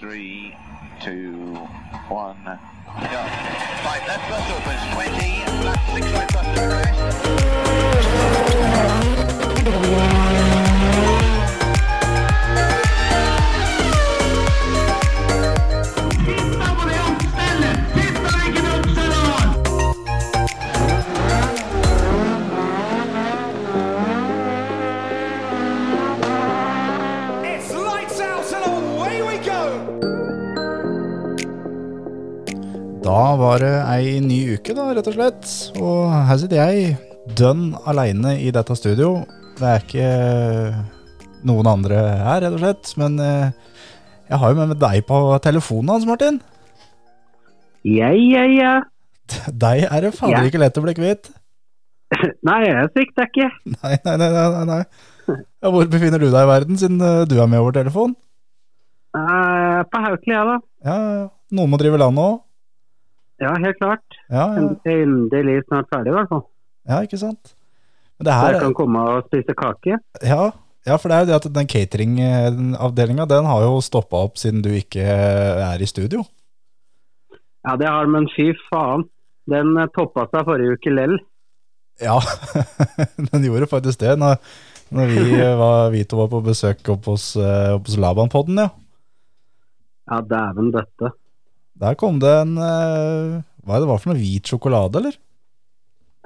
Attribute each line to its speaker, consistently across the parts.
Speaker 1: Three, two, one, go. Right, left bus opens 20, left six right bus to arrest.
Speaker 2: It's lights out and away we go!
Speaker 3: Da var det ei ny uke, da, rett og slett. Og her sitter jeg, dønn aleine i dette studio. Det er ikke eh, noen andre her, rett og slett. Men eh, jeg har jo med meg deg på telefonen hans, Martin.
Speaker 4: Ja, ja, ja.
Speaker 3: Deg er det fader
Speaker 4: Ja.
Speaker 3: ikke lett å bli kvitt.
Speaker 4: Nei, jeg svikter ikke.
Speaker 3: Nei, nei, nei. nei, nei. Ja, hvor befinner du deg i verden, siden eh, du er med over telefon?
Speaker 4: Eh, På Haukeli, jeg, da.
Speaker 3: Ja, ja. noen må drive land òg.
Speaker 4: Ja, helt klart.
Speaker 3: Ja, ja,
Speaker 4: Endelig snart ferdig, i hvert fall.
Speaker 3: ja, ikke sant. Men det
Speaker 4: Så
Speaker 3: her
Speaker 4: jeg kan komme og spise kake.
Speaker 3: Ja, ja for det er jo det at den cateringavdelinga den har jo stoppa opp siden du ikke er i studio.
Speaker 4: Ja, det har men fy faen. Den eh, toppa seg forrige uke lell.
Speaker 3: Ja, den gjorde faktisk det når, når vi, var, vi to var på besøk oppe hos, eh, oppe hos Labanpodden. Ja.
Speaker 4: Ja, dæven døtte.
Speaker 3: Der kom det en eh, Hva er det var for noe hvit sjokolade, eller?
Speaker 4: Ja,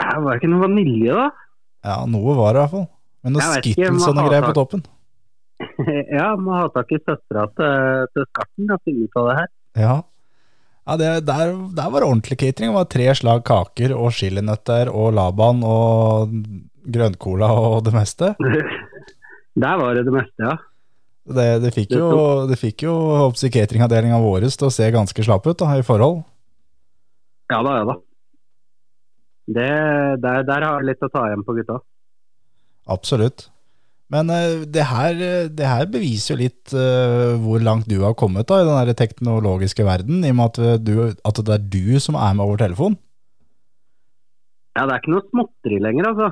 Speaker 4: Eh, Var det ikke noe vanilje, da?
Speaker 3: Ja, noe var det i hvert fall. Men noe
Speaker 4: Jeg vet ikke,
Speaker 3: Skittles og
Speaker 4: hva
Speaker 3: noe greier
Speaker 4: har
Speaker 3: på toppen.
Speaker 4: ja, må ha tak i søstera til, til Skarten og finne ut av det her.
Speaker 3: Ja. ja det, der, der var det ordentlig catering. Det var tre slag kaker og chilinøtter og Laban og grønncola og det meste.
Speaker 4: Der var det det meste, ja.
Speaker 3: Det, det fikk
Speaker 4: Det
Speaker 3: jo, det fikk jo hoppsi cateringavdelinga vår til å se ganske slapp ut da, i forhold.
Speaker 4: Ja da, ja da. Det, der, der har jeg litt å ta igjen på gutta.
Speaker 3: Absolutt. Men eh, det her, det her beviser jo litt eh, hvor langt du har kommet da, i den der teknologiske verden, i og med at, du, at det er du som er med over telefon.
Speaker 4: Ja, det er ikke noe småtteri lenger, altså.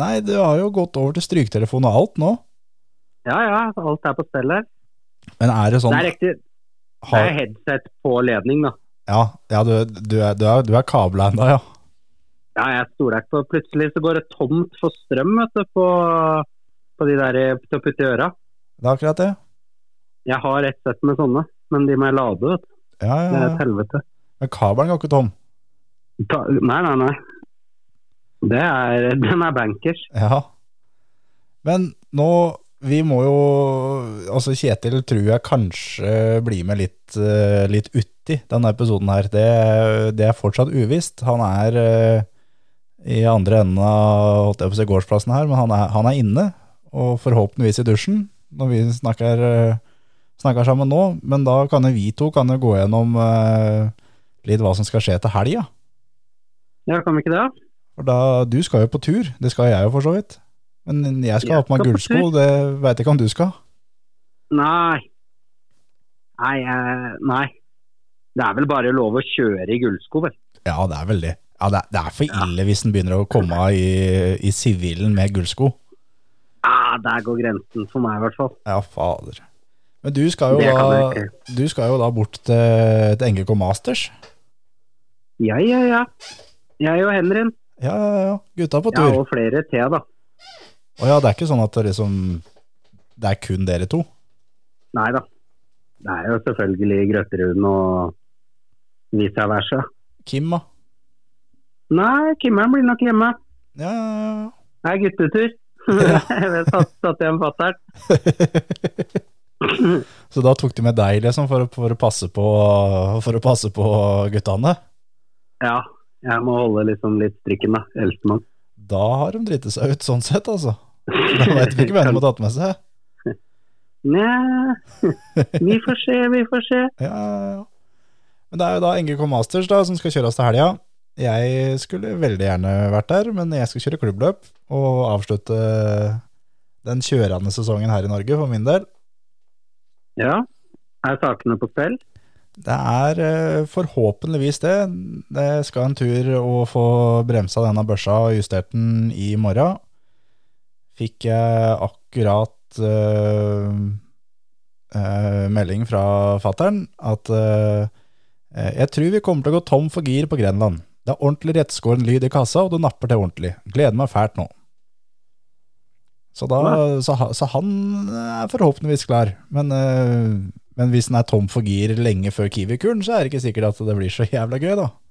Speaker 3: Nei, du har jo gått over til stryktelefon og alt nå.
Speaker 4: Ja, ja, alt er på stell her.
Speaker 3: Men er det sånn
Speaker 4: Det er riktig. Det er
Speaker 3: har,
Speaker 4: headset på ledning, da.
Speaker 3: Ja, ja du, du, er, du, er, du er kabla ennå, ja.
Speaker 4: Ja, jeg stoler ikke på Plutselig så går det tomt for strøm vet du, på, på de der eh, til å putte i øra.
Speaker 3: Det er akkurat det.
Speaker 4: Jeg har ett sett med sånne, men de må jeg lade. vet du.
Speaker 3: Ja,
Speaker 4: Det
Speaker 3: ja,
Speaker 4: er et
Speaker 3: ja.
Speaker 4: helvete.
Speaker 3: Men kabelen går ikke tom.
Speaker 4: Ta, nei, nei, nei. Det er, den er bankers.
Speaker 3: Ja. Men nå, vi må jo Altså, Kjetil tror jeg kanskje blir med litt, eh, litt uti denne episoden her. Det, det er fortsatt uvisst. Han er eh, i andre enden av holdt jeg på å si, gårdsplassen her, men han er, han er inne. Og forhåpentligvis i dusjen når vi snakker, eh, snakker sammen nå. Men da kan jo vi to kan jo gå gjennom eh, litt hva som skal skje til helga.
Speaker 4: Ja, kan vi ikke det? da?
Speaker 3: For da, du skal jo på tur, det skal jeg jo for så vidt. Men jeg skal
Speaker 4: Jeg
Speaker 3: ha på meg
Speaker 4: skal på
Speaker 3: gullsko, det veit jeg ikke om du skal.
Speaker 4: Nei. Nei, jeg- nei. Det er vel bare lov å kjøre i gullsko, vel.
Speaker 3: Ja, det er vel det. Ja, det, er- det er for ille hvis den begynner å komme i, i sivilen med gullsko.
Speaker 4: Ja, der går grensen for meg, i hvert fall.
Speaker 3: Ja, fader. Men du skal jo,
Speaker 4: Det kan jeg
Speaker 3: da, du skal jo da bort til, til NGK Masters.
Speaker 4: Ja, ja, ja. Jeg og Henrin.
Speaker 3: Ja, ja, ja. Gutta på
Speaker 4: Ja,
Speaker 3: tur.
Speaker 4: og flere til, da.
Speaker 3: Å ja, det er ikke sånn at det liksom Det er kun dere to?
Speaker 4: Nei da. Det er jo selvfølgelig Grøterud og vice versa.
Speaker 3: Kim, da?
Speaker 4: Nei, Kimmer'n blir nok hjemme.
Speaker 3: Ja, ja, ja.
Speaker 4: Det er guttetur. Jeg satt, satt igjen fatter'n.
Speaker 3: Så da tok de med deg, liksom, for, å- for, å, passe på, for å passe på guttene?
Speaker 4: Ja, jeg må holde liksom litt strikken, da. Eldstemann.
Speaker 3: Da har de dritt seg ut, sånn sett, altså. Da veit vi ikke hvem de har tatt med seg.
Speaker 4: Nja Vi får se, vi får se.
Speaker 3: Ja, ja, ja. Men det er jo da NGK Masters da, som skal kjøres til helga. Jeg skulle veldig gjerne vært der, men jeg skal kjøre klubbløp og avslutte den kjørende sesongen her i Norge, for min del.
Speaker 4: Ja. Er sakene på stell?
Speaker 3: Det er eh, forhåpentligvis det. Det skal en tur å få bremsa denne børsa og justert den i morgen. Fikk jeg akkurat eh, eh, melding fra fattern at eh, eh, jeg tror vi kommer til å gå tom for gir på Grenland. Det er ordentlig rettskåren lyd i kassa, og det napper til ordentlig. Gleder meg fælt nå. Så, da, så, ha- så han er forhåpentligvis klar. Men, eh, men hvis den er tom for gir lenge før Kiwi-kuren, så er det ikke sikkert at det blir så jævla gøy, da.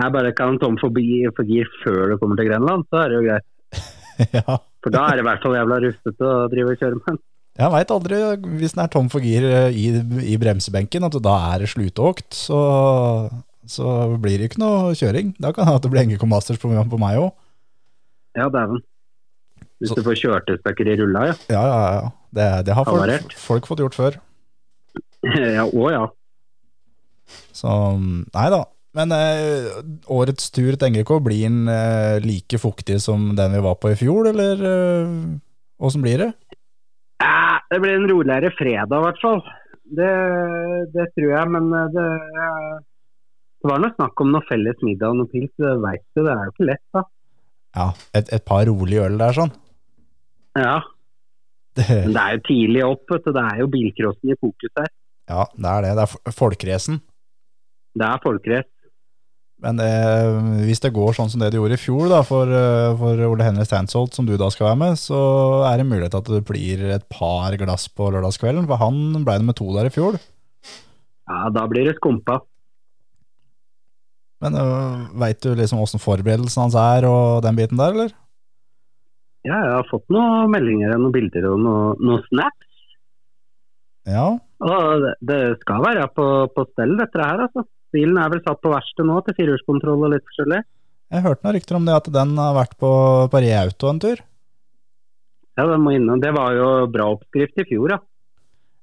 Speaker 4: Jeg bare kan tom forbi for gir før du kommer til Grenland, så er det jo greit.
Speaker 3: ja.
Speaker 4: For da er det i hvert fall jævla rustete å drive og kjøre med den.
Speaker 3: Jeg veit aldri, hvis den er tom for gir eh, i, i bremsebenken, at da er det slutåkt, så, så blir det ikke noe kjøring. Da kan det hende at det blir NGK Masters på, på meg òg.
Speaker 4: Ja, dæven. Hvis
Speaker 3: Så-
Speaker 4: du får kjørt et stykker i rulla, ja.
Speaker 3: Ja, ja, ja. Det, det har folk,
Speaker 4: Havarert.
Speaker 3: folk fått gjort før.
Speaker 4: ja. Å ja.
Speaker 3: Så nei da. Men eh, årets tur til NGK, blir den eh, like fuktig som den vi var på i fjor, eller eh, åssen blir det?
Speaker 4: Eh, Det blir en roligere fredag, i hvert fall. Det, det tror jeg, men eh, det, eh, det var noe snakk om noe felles middag og noe pils. Det veit du, det er jo ikke lett, da.
Speaker 3: Ja, et, et par rolige øl der, sånn.
Speaker 4: Ja,
Speaker 3: Det,
Speaker 4: Men det er jo tidlig opp, vet du. Det er jo bilcrossen i fokus her.
Speaker 3: ja, det er det. Det er fo- folkracen.
Speaker 4: Det er folkerett.
Speaker 3: Men det, hvis det går sånn som det det gjorde i fjor da, for, eh, for Ole Henry Stansholt, som du da skal være med, så er det mulighet at det blir et par glass på lørdagskvelden, for han ble nummer to der i fjor.
Speaker 4: Ja, da blir det skumpa.
Speaker 3: Men veit du liksom åssen forberedelsen hans er og den biten der, eller?
Speaker 4: Ja, jeg har fått noen meldinger og noen bilder og noen noe snaps.
Speaker 3: Ja,
Speaker 4: Og det, det skal være på, på stell, dette her, altså. Bilen er vel satt på verksted nå til firehjulskontroll og litt forskjellig.
Speaker 3: jeg hørte noen rykter om det, at den har vært på, på Reauto en tur.
Speaker 4: Ja, den må innom. Det var jo bra oppskrift i fjor, ja.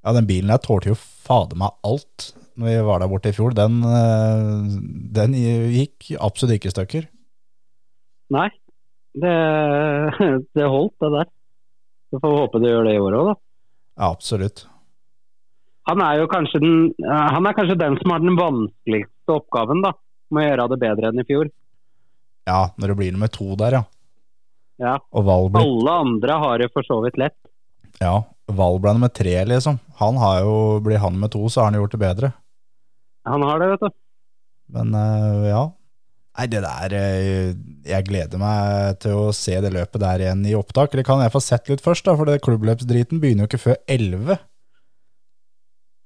Speaker 3: Ja, den bilen der tålte jo fader meg alt når vi var der borte i fjor. Den, eh, den gikk absolutt ikke i stykker.
Speaker 4: Nei, det, det holdt, det der. Så får vi håpe det gjør det i år òg, da.
Speaker 3: Ja, absolutt.
Speaker 4: Han er jo kanskje den, eh, han er kanskje den som har den vanskeligste oppgaven, da. Med å gjøre det bedre enn i fjor.
Speaker 3: Ja, når det blir nummer to der, ja.
Speaker 4: Ja.
Speaker 3: Og Val blir
Speaker 4: Alle andre har det for så vidt lett.
Speaker 3: Ja, Val ble nummer tre, liksom. Han har jo, Blir han med to, så har han gjort det bedre.
Speaker 4: Han har det, vet du.
Speaker 3: Men eh, ja. Nei, det der eh, Jeg gleder meg til å se det løpet der igjen i opptak. Det kan jeg få sett litt først, da, for det klubbløpsdriten begynner jo ikke før 11.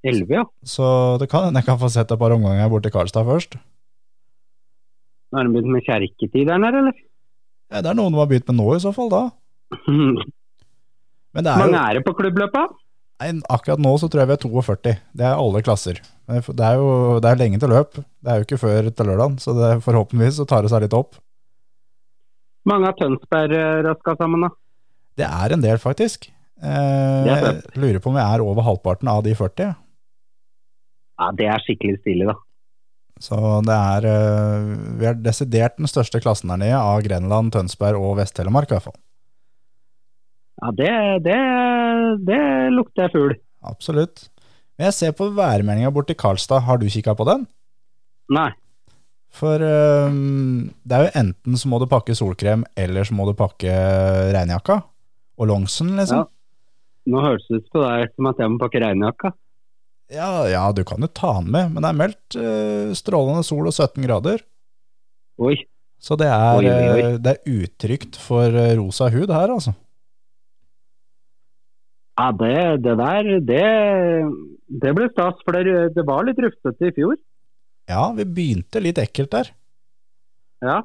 Speaker 4: 11, ja.
Speaker 3: Så det kan hende jeg kan få sett et par omganger borte i Karlstad først.
Speaker 4: Nå har han begynt med kjerketid der nede, eller?
Speaker 3: Ja, det er noen de har begynt med nå, i så fall, da.
Speaker 4: Hvor
Speaker 3: Men det er jo,
Speaker 4: mange er det på klubbløpet?
Speaker 3: nei, akkurat nå så tror jeg vi er 42. Det er alle klasser. Men Det er jo det er lenge til løp. Det er jo ikke før til lørdag, så det, forhåpentligvis så tar det seg litt opp.
Speaker 4: Mange av Tønsberg eh, raska sammen, da.
Speaker 3: Det er en del, faktisk. Eh,
Speaker 4: Det er
Speaker 3: jeg lurer på om jeg er over halvparten av de 40.
Speaker 4: Ja, Det er skikkelig stilig, da.
Speaker 3: Så det er eh, Vi er desidert den største klassen der nede av Grenland, Tønsberg og Vest-Telemark, i hvert fall.
Speaker 4: Ja, Det, det, det lukter fugl.
Speaker 3: Absolutt. Men jeg ser på værmeldinga borti Karlstad, har du kikka på den?
Speaker 4: Nei.
Speaker 3: For eh, det er jo enten så må du pakke solkrem, eller så må du pakke regnjakka. Og longsen, liksom.
Speaker 4: Nå hørtes det ut på deg som at jeg må pakke regnjakka.
Speaker 3: Ja. ja, du kan jo ta den med, men det er meldt eh, strålende sol og 17 grader.
Speaker 4: Oi.
Speaker 3: Så det er,
Speaker 4: Oi, oi, oi.
Speaker 3: eh, det er utrygt for eh, rosa hud her, altså.
Speaker 4: Ja, det, det der, det, det ble stas. For det, det var litt rufsete i fjor.
Speaker 3: Ja, vi begynte litt ekkelt der.
Speaker 4: Ja.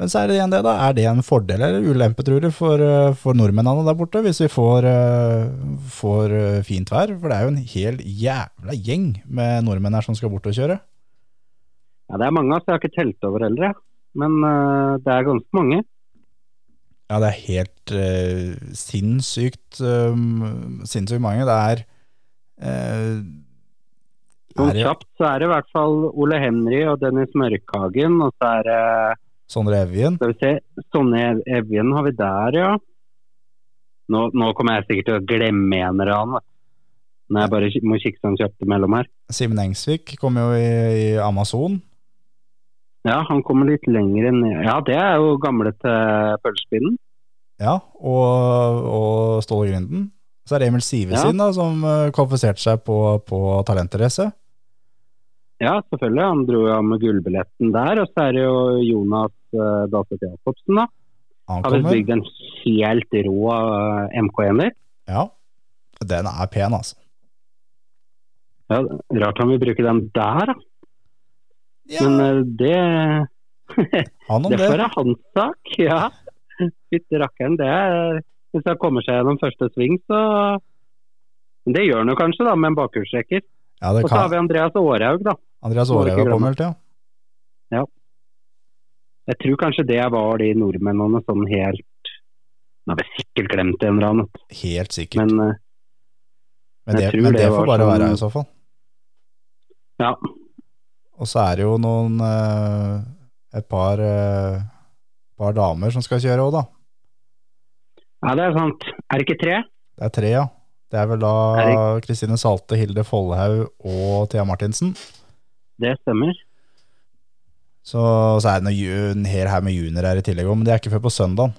Speaker 3: Men så er det igjen det, da. Er det en fordel eller ulempe, tror du, for, eh, for nordmennene der borte, hvis vi får, eh, får eh, fint vær? For det er jo en hel jævla gjeng med nordmenn her som skal bort og kjøre.
Speaker 4: ja, det er mange, altså. Jeg har ikke telt over heller, jeg. Men eh, det er ganske mange.
Speaker 3: Ja, det er helt eh, sinnssykt eh, Sinnssykt mange. Det er eh,
Speaker 4: Sånn
Speaker 3: Er det-
Speaker 4: kjapt så er det i hvert fall Ole Henry og Dennis Mørkhagen. Og så er det
Speaker 3: Sondre Evjen.
Speaker 4: Skal vi se. Sonny Ev- Evjen har vi der, ja. Nå, nå kommer jeg sikkert til å glemme en eller annen. da. Når jeg bare ki- må kikke sånn kjapt imellom her.
Speaker 3: Simen Engsvik kom jo i, i Amazon.
Speaker 4: Ja, han kommer litt lenger ned. Ja, det er jo gamle til pølsepinnen.
Speaker 3: Ja, og, og Ståle Grynden. Så er det Emil Sivesin da, som eh, kvalifiserte seg på, på talentrace.
Speaker 4: Ja, selvfølgelig. Han dro jo av med gullbilletten der. Og så er det jo Jonas uh, Dahlstedt Jacobsen, da.
Speaker 3: Han
Speaker 4: Har vel
Speaker 3: kommer.
Speaker 4: bygd en helt rå eh, MK1-er.
Speaker 3: Ja. Den er pen, altså.
Speaker 4: Ja, rart han vil bruke den der, da.
Speaker 3: Ja,
Speaker 4: Men eh, det
Speaker 3: han om
Speaker 4: Det
Speaker 3: det.
Speaker 4: får være hans sak, ja. Fytti rakkeren, det er Hvis han kommer seg gjennom første sving, så Men Det gjør han jo kanskje, da, med en bakhjulstrekker.
Speaker 3: Ja, det
Speaker 4: Og så har
Speaker 3: kan.
Speaker 4: vi Andreas Aarhaug, da.
Speaker 3: Andreas
Speaker 4: må vi
Speaker 3: Aarhaug
Speaker 4: ikke
Speaker 3: har
Speaker 4: glemme.
Speaker 3: kommet, ja.
Speaker 4: Jeg tror kanskje det var de nordmennene sånn helt Nå har vi sikkert glemt en eller annen,
Speaker 3: Helt sikkert.
Speaker 4: men
Speaker 3: Men,
Speaker 4: eh, jeg
Speaker 3: det,
Speaker 4: tror
Speaker 3: men
Speaker 4: det
Speaker 3: det
Speaker 4: var
Speaker 3: får bare
Speaker 4: sånn-
Speaker 3: være i så fall.
Speaker 4: ja.
Speaker 3: Og så er det jo noen eh, et par, eh, par damer som skal kjøre òg, da.
Speaker 4: ja, det er sant. Er det ikke tre?
Speaker 3: Det er tre, ja. Det er vel da Kristine Salte, Hilde Follhaug og Thea Martinsen.
Speaker 4: Det stemmer.
Speaker 3: Så, så er det noe ju- en hel haug med juniorer her i tillegg òg, men det er ikke før på søndagen.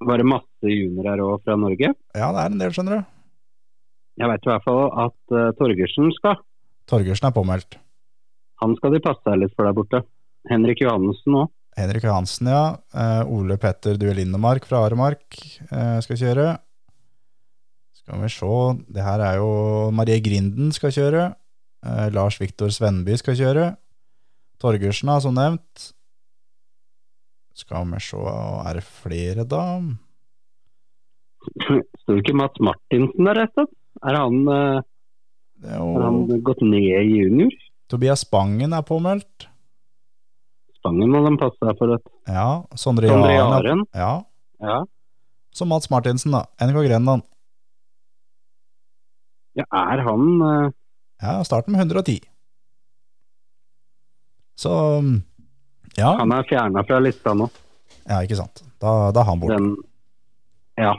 Speaker 4: Var det masse juniorer òg fra Norge?
Speaker 3: Ja, det er en del, skjønner du.
Speaker 4: Jeg vet i hvert fall at eh, Torgersen skal.
Speaker 3: Torgersen er påmeldt.
Speaker 4: Han skal de passe seg litt for der borte. Henrik Johannessen òg.
Speaker 3: Henrik Johansen, ja. Eh, Ole Petter Duelindemark fra Aremark eh, skal kjøre. Skal vi se, det her er jo Marie Grinden skal kjøre. Eh, Lars Viktor Svenby skal kjøre. Torgersen, da, som nevnt. Skal vi se, er det flere, da?
Speaker 4: Sto ikke Mats Martinsen der et sted? Er han, eh,
Speaker 3: Det er jo
Speaker 4: har han gått ned i junior?
Speaker 3: Tobias Spangen er påmeldt.
Speaker 4: Spangen må de passe seg for. vet du.
Speaker 3: Ja. Sondre
Speaker 4: Sondre
Speaker 3: Jaren.
Speaker 4: Jaren.
Speaker 3: Ja.
Speaker 4: Ja.
Speaker 3: Så Mats Martinsen, da. NK Grenland.
Speaker 4: ja, er han eh,
Speaker 3: Ja, starten med 110. Så mm, ja,
Speaker 4: Han er fjerna fra lista nå.
Speaker 3: ja ikke sant. Da, da er han borte.
Speaker 4: Den, ja.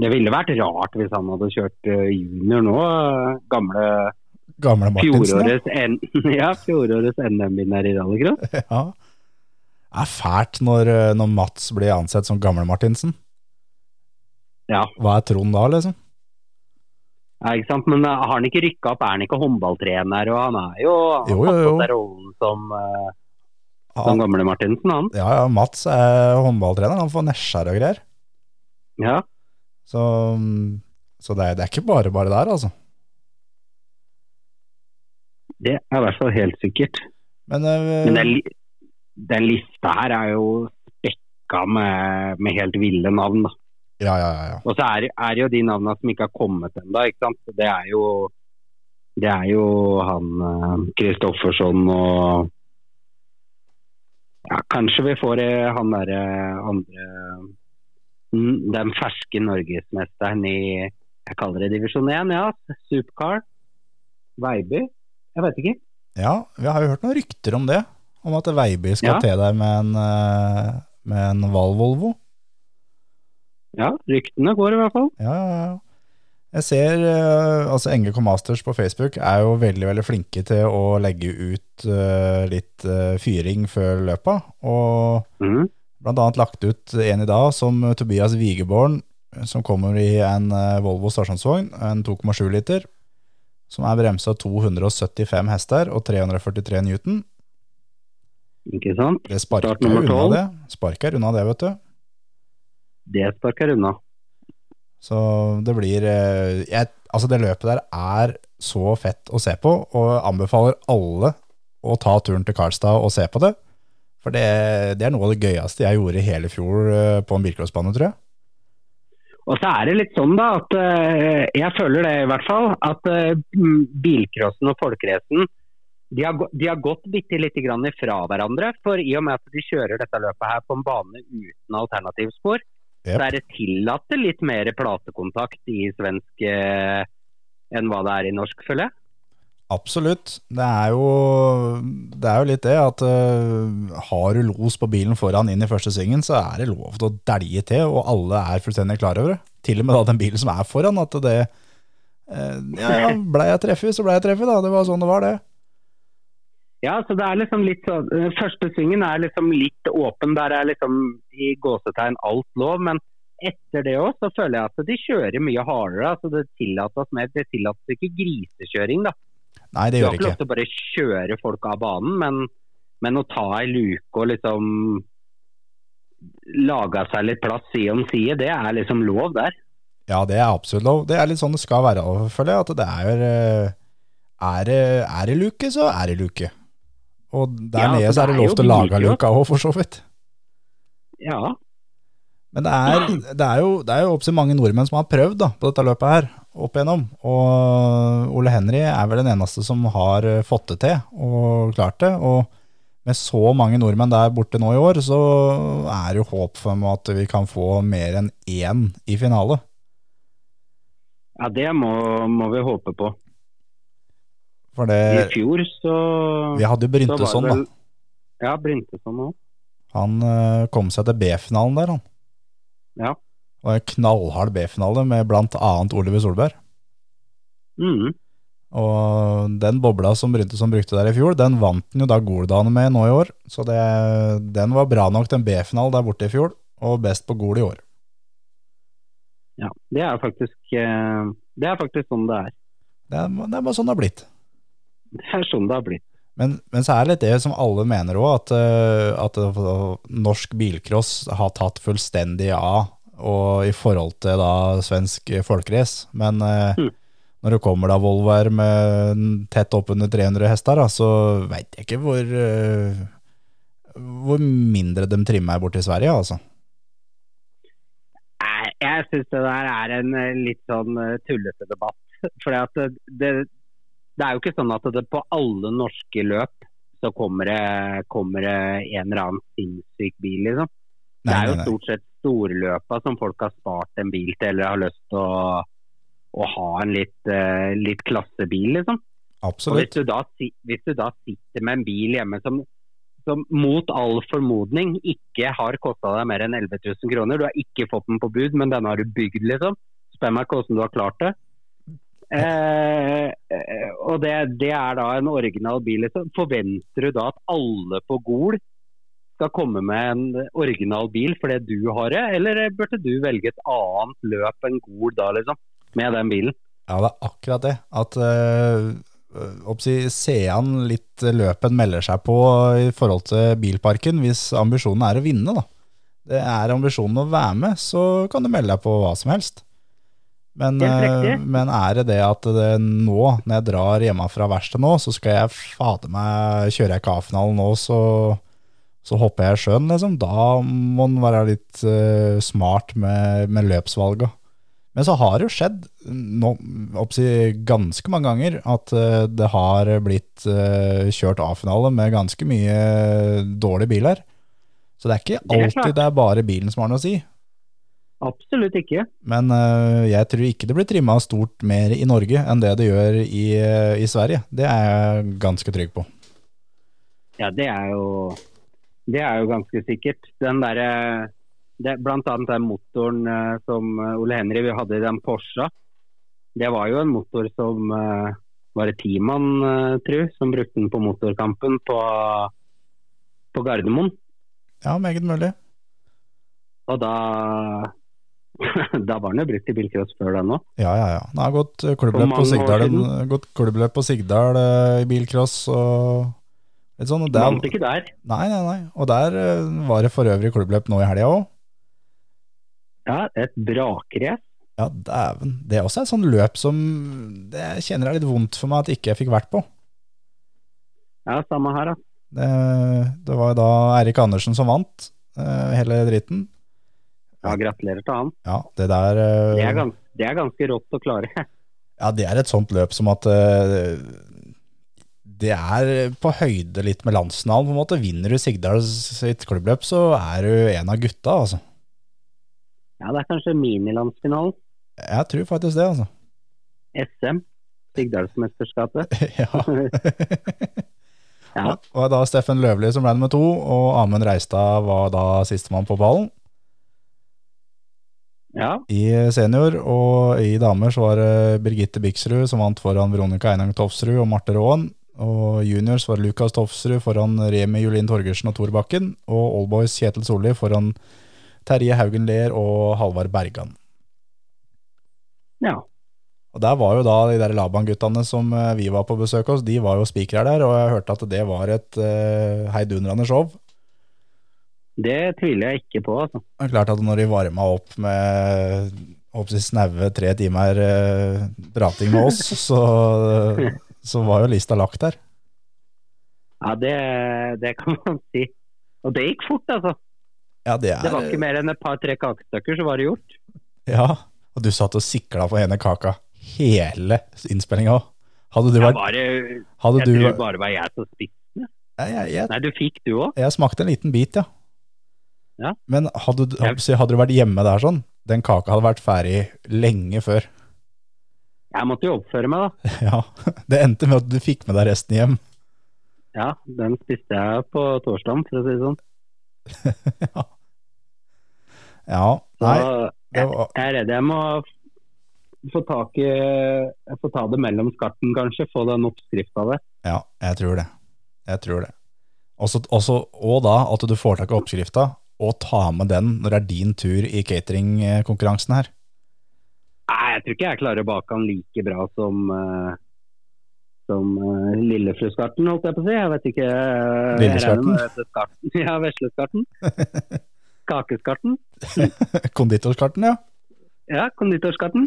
Speaker 4: Det ville vært rart hvis han hadde kjørt eh, junior nå. eh, Gamle
Speaker 3: Gamle Martinsen, ja.
Speaker 4: fjorårets, N- ja, fjorårets NM-vinner i rallycross.
Speaker 3: ja. Det er fælt når, eh, når Mats blir ansett som gamle Martinsen.
Speaker 4: Ja,
Speaker 3: Hva er Trond da, liksom?
Speaker 4: ja, ikke sant? Men eh, har han ikke rykka opp? Er han ikke håndballtrener? Og han er jo han
Speaker 3: Jo, jo,
Speaker 4: har
Speaker 3: jo.
Speaker 4: fått seg rollen som, eh, som
Speaker 3: Han,
Speaker 4: gamle Martinsen, han.
Speaker 3: ja, ja, Mats er håndballtrener. Han får nesjer og greier.
Speaker 4: Ja.
Speaker 3: Så, mm, så det, er, det er ikke bare bare der, altså.
Speaker 4: Det er i hvert fall helt sikkert.
Speaker 3: Men, eh,
Speaker 4: Men den, li- den lista her er jo spekka med, med helt ville navn. Da.
Speaker 3: ja, ja, ja, ja.
Speaker 4: Og så er, er det jo de navnene som ikke har kommet ennå. ikke sant? Så Det er jo det er jo han eh, Kristoffersson og ja, Kanskje vi får eh, han derre andre mm, Den ferske norgesmesteren i jeg kaller det divisjon 1, ja. Supercar. Veiby. Jeg vet ikke.
Speaker 3: Ja, vi har jo hørt noen rykter om det. Om at Veiby skal
Speaker 4: Ja.
Speaker 3: til der med en, eh, med en Val-Volvo.
Speaker 4: Ja, ryktene går i hvert fall.
Speaker 3: Ja, ja, ja. Jeg ser eh, altså NGK Masters på Facebook er jo veldig veldig flinke til å legge ut eh, litt eh, fyring før løpa. Og
Speaker 4: Mhm.
Speaker 3: blant annet lagt ut en i dag som Tobias Wigeborn, som kommer i en eh, Volvo stasjonsvogn, en 2,7 liter, som er bremsa 275 hester og 343 newton.
Speaker 4: Ikke sant?
Speaker 3: Det sparker
Speaker 4: Start nummer
Speaker 3: unna
Speaker 4: 12.
Speaker 3: det. Sparker unna det, vet du.
Speaker 4: Det sparker unna.
Speaker 3: Så det blir eh, jeg, Altså, det løpet der er så fett å se på, og jeg anbefaler alle å ta turen til Karlstad og se på det. For det, det er noe av det gøyeste jeg gjorde i hele fjor eh, på en bilcrossbane, tror jeg.
Speaker 4: Og så er det litt sånn da, at eh, jeg føler det i hvert fall, at eh, mm, bilcrossen og folkeracen de, har gå- de har gått bitte lite grann ifra hverandre. For i og med at de kjører dette løpet her på en bane uten alternativspor,
Speaker 3: Jep.
Speaker 4: så er det tillatt litt mer platekontakt i svensk eh, enn hva det er i norsk, føler jeg.
Speaker 3: Absolutt. Det er jo, det er jo litt det at eh, har du los på bilen foran inn i første svingen, så er det lov til å dælje til, og alle er fullstendig klar over det. Til og med da den bilen som er foran, at det eh, Ja, ja, blei jeg treffet, så blei jeg treffet, da. Det var sånn det var, det.
Speaker 4: Ja, så det er liksom litt sånn eh, Første svingen er liksom litt åpen. Der er liksom i gåsetegn alt lov. Men etter det òg, så føler jeg at de kjører mye hardere. altså Det tillates mer, det tillates ikke grisekjøring, da.
Speaker 3: Nei, det
Speaker 4: Du
Speaker 3: gjør
Speaker 4: har
Speaker 3: det
Speaker 4: ikke
Speaker 3: ikke.
Speaker 4: lov til å bare kjøre folk av banen, men, men å ta ei luke og liksom lage seg litt plass side om side, det er liksom lov der.
Speaker 3: Ja, det er absolutt lov. Det er litt sånn det skal være, føler jeg. At det er eh, Er det, er det luke, så er det luke. Og der
Speaker 4: Ja,
Speaker 3: nede
Speaker 4: altså,
Speaker 3: så er
Speaker 4: det
Speaker 3: det
Speaker 4: er
Speaker 3: lov
Speaker 4: jo
Speaker 3: til å lage
Speaker 4: billig, jo.
Speaker 3: luka òg, for så vidt.
Speaker 4: Ja,
Speaker 3: Men det er, det er jo, det er jo opptil mange nordmenn som har prøvd da, på dette løpet her, opp igjennom. Og Ole Henry er vel den eneste som har eh, fått det til, og klart det. Og med så mange nordmenn der borte nå i år, så er det jo håp for meg at vi kan få mer enn én i finale.
Speaker 4: ja det må, må vi håpe på.
Speaker 3: For
Speaker 4: I
Speaker 3: det,
Speaker 4: fjor så
Speaker 3: vi hadde jo
Speaker 4: så var det
Speaker 3: Bryntesson, sånn, da.
Speaker 4: vel- Ja, sånn Bryntesson òg.
Speaker 3: Han eh, kom seg til B-finalen der, han.
Speaker 4: Ja.
Speaker 3: Det var en knallhard B-finale med blant annet Oliver Solberg.
Speaker 4: Mm.
Speaker 3: Og den bobla som Bryntesson brukte der i fjor, den vant han jo da Goldane med nå i år. Så det, den var bra nok til en B-finale der borte i fjor, og best på Gol i år.
Speaker 4: Ja, det er faktisk eh, Det er faktisk sånn det er.
Speaker 3: Det er, det er bare sånn det har blitt.
Speaker 4: Det er sånn det har blitt.
Speaker 3: Men, men så er det litt det som alle mener òg, at, eh, at eh, norsk bilcross har tatt fullstendig av og i forhold til da svensk folkerace. Men eh,
Speaker 4: Mm.
Speaker 3: når det kommer da Volvoer med n- tett oppunder 300 hester, da, så veit jeg ikke hvor eh, hvor mindre de trimmer her borte i Sverige, altså.
Speaker 4: Nei, Jeg syns det der er en eh, litt sånn eh, tullete debatt. For det, det, det er jo ikke sånn at det på alle norske løp så kommer det, kommer det en eller annen sinnssyk bil, liksom. Det
Speaker 3: Nei,
Speaker 4: er jo
Speaker 3: nei, nei.
Speaker 4: stort sett storløpa som folk har spart en bil til, eller har lyst til å, å ha en litt, eh, litt klassebil, liksom. Og hvis
Speaker 3: Absolutt.
Speaker 4: du, da, si- hvis du da sitter med en bil hjemme som, som mot all formodning ikke har kosta deg mer enn 11 000 kroner, du har ikke fått den på bud, men denne har du bygd, liksom. Spør meg hvordan du har klart det. Eh, eh, og det, det er da en original bil. Liksom. Forventer du da at alle på Gol skal komme med en original bil fordi du har det, eller burde du velge et annet løp enn Gol da, liksom? Med den bilen.
Speaker 3: Ja, det er akkurat det. At uh, oppsi, sean litt løpen melder seg på i forhold til bilparken, hvis ambisjonen er å vinne, da. Det er ambisjonen å være med, så kan du melde deg på hva som helst. Men,
Speaker 4: Helt
Speaker 3: eh,
Speaker 4: riktig.
Speaker 3: men er det det at det nå, når jeg drar hjemme fra verkstedet nå, så skal jeg fader meg kjøre jeg ikke A-finalen nå, så, så hopper jeg i sjøen, liksom. Da må en være litt eh, smart med, med løpsvalga. Men så har det jo skjedd nå, oppsi, ganske mange ganger at eh, det har blitt eh, kjørt A-finale med ganske mye dårlige biler. Så det er ikke
Speaker 4: Det er
Speaker 3: alltid
Speaker 4: klart.
Speaker 3: det er bare bilen som har noe å si.
Speaker 4: Absolutt ikke.
Speaker 3: Men øh, jeg tror ikke det blir trimma stort mer i Norge enn det det gjør i, øh, i Sverige. Det er jeg ganske trygg på.
Speaker 4: Ja, det er jo, det er jo ganske sikkert. Den derre det- Blant annet den motoren eh, som eh, Ole Henry vi hadde i den Porscha. Det var jo en motor som eh, var det ti mann, eh, tru, som brukte den på motorkampen på, på Gardermoen.
Speaker 3: Ja, meget mulig.
Speaker 4: Og da Da var den jo brukt i bilcross før den òg.
Speaker 3: Ja, ja, ja. Det har gått øh,
Speaker 4: For
Speaker 3: klubbløp på
Speaker 4: mange år
Speaker 3: Sigdal,
Speaker 4: siden.
Speaker 3: gått klubbløp på Sigdal øh, i bilcross og litt sånn. og
Speaker 4: Vant
Speaker 3: Der,
Speaker 4: ikke der.
Speaker 3: nei, nei, nei. Og der øh, var det for øvrig klubbløp nå i helga òg.
Speaker 4: Ja, Et brakrace.
Speaker 3: Ja, dæven. Det er også et sånt løp som det jeg kjenner er litt vondt for meg at ikke jeg fikk vært på.
Speaker 4: Ja, samme her, altså. da.
Speaker 3: Det, det var da Eirik Andersen som vant øh, hele dritten.
Speaker 4: Ja, Gratulerer til han.
Speaker 3: Ja, det der øh,
Speaker 4: Det er, gans, det er ganske rått å klare.
Speaker 3: Ja, det er et sånt løp som at eh, det er på høyde litt med landsnavn, på en måte. Vinner du Sigdal sitt klubbløp, så er du en av gutta, altså.
Speaker 4: Ja, Det er kanskje minilandsfinalen.
Speaker 3: Jeg tror faktisk det, altså.
Speaker 4: SM, Sigdalsmesterskapet.
Speaker 3: ja.
Speaker 4: Ja.
Speaker 3: Og da Steffen Løvli som ble nummer to, og Amund Reistad var da sistemann på ballen.
Speaker 4: Ja,
Speaker 3: I senior og i damer så var det Birgitte Biksrud som vant foran Veronica Einang Tofsrud og Marte Raan. Og juniors var Lukas Tofsrud foran Remi Julin Torgersen og Tor Bakken. Og oldboys Kjetil Solli foran Terje Haugenlier og Halvard Bergan.
Speaker 4: Ja.
Speaker 3: Og Der var jo da de der Laban-guttene som eh, vi var på besøk hos, de var jo spikere der, og jeg hørte at det var et eh, heidundrende show.
Speaker 4: Det tviler jeg ikke på, altså.
Speaker 3: Det er klart at når de varma opp med opp til snaue tre timer eh, prating med oss, så, så var jo lista lagt der.
Speaker 4: Ja, det, det kan man si. Og det gikk fort, altså.
Speaker 3: Ja, det er
Speaker 4: Det var ikke mer enn et par-tre kakestykker, så var det gjort.
Speaker 3: Ja, og du satt og sikla på henne kaka hele innspillinga òg. Hadde du
Speaker 4: Jeg,
Speaker 3: vært
Speaker 4: bare,
Speaker 3: hadde
Speaker 4: jeg
Speaker 3: du,
Speaker 4: tror
Speaker 3: jeg,
Speaker 4: bare det var jeg som spiste.
Speaker 3: jeg, jeg,
Speaker 4: Nei, du fikk du òg?
Speaker 3: jeg smakte en liten bit, ja.
Speaker 4: Ja.
Speaker 3: Men hadde, du- hadde du vært hjemme der sånn, den kaka hadde vært ferdig lenge før.
Speaker 4: Jeg måtte jo oppføre meg, da.
Speaker 3: Ja, Det endte med at du fikk med deg resten hjem.
Speaker 4: Ja, den spiste jeg på torsdagen, for å si det sånn.
Speaker 3: Ja, ja
Speaker 4: Så
Speaker 3: nei, det var
Speaker 4: jeg er redd jeg må få tak i Jeg får ta det mellom skarten, kanskje. Få den oppskrifta der.
Speaker 3: Ja, jeg tror det. Jeg tror det. Også, også, og da at du får tak i oppskrifta, og ta med den når det er din tur i cateringkonkurransen her.
Speaker 4: Nei, jeg tror ikke jeg klarer å bake den like bra som eh, som eh, lillefruskarten, holdt jeg på å si. Jeg vet ikke. eh, jeg
Speaker 3: Lilleskarten?
Speaker 4: regner med skarten. Ja, vesleskarten. Kakeskarten.
Speaker 3: Konditorskarten, ja.
Speaker 4: Ja, konditorskarten.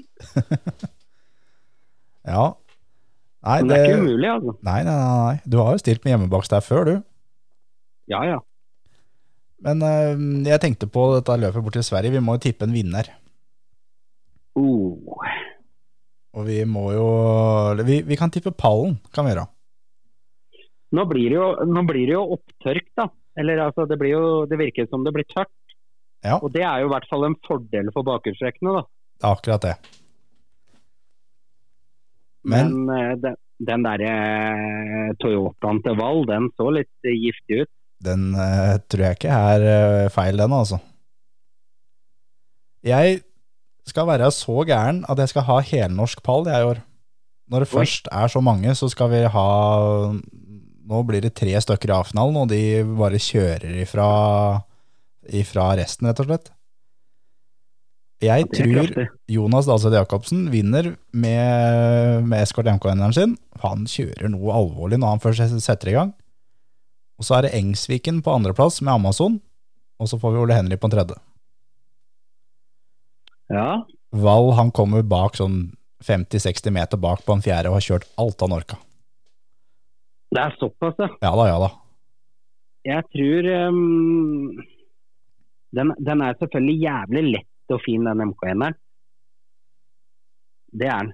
Speaker 3: Ja. Nei,
Speaker 4: Men
Speaker 3: det,
Speaker 4: det er ikke umulig, altså.
Speaker 3: nei, nei, nei, nei. Du har jo stilt med hjemmebakst der før, du.
Speaker 4: Ja, ja.
Speaker 3: Men eh, jeg tenkte på dette løpet bort til Sverige. Vi må jo tippe en vinner.
Speaker 4: Oh.
Speaker 3: Og vi må jo eller Vi, vi kan tippe pallen, kan vi gjøre.
Speaker 4: Nå blir det jo, nå blir det jo opptørk, da. Eller altså, det, blir jo, det virker som det blir tørt.
Speaker 3: Ja.
Speaker 4: Og det er jo i hvert fall en fordel for bakhjulstrekkene, da.
Speaker 3: Det er akkurat det. Men,
Speaker 4: Men, eh, den, den derre eh, Toyotaen til Val, den så litt eh, giftig ut.
Speaker 3: den eh, tror jeg ikke er eh, feil, den altså. Jeg skal være så gæren at jeg skal ha helnorsk pall jeg i år. Når det
Speaker 4: Oi.
Speaker 3: først er så mange, så skal vi ha Nå blir det tre stykker i A-finalen, og de bare kjører ifra, ifra resten, rett og slett. Jeg
Speaker 4: Det er
Speaker 3: tror
Speaker 4: kraftig.
Speaker 3: Jonas Dahlseth Jacobsen vinner med, med Escort MK-enderen sin. Han kjører noe alvorlig når han først setter i gang. Og så er det Engsviken på andreplass med Amazon, og så får vi Ole Henry på en tredje.
Speaker 4: Ja.
Speaker 3: Val han kommer bak sånn 50-60 meter bak på en fjerde og har kjørt alt han orka.
Speaker 4: Det er såpass, ja.
Speaker 3: Ja da, ja da.
Speaker 4: Jeg tror ehm, den, den er selvfølgelig jævlig lett og fin, den MK1-eren. Det er den.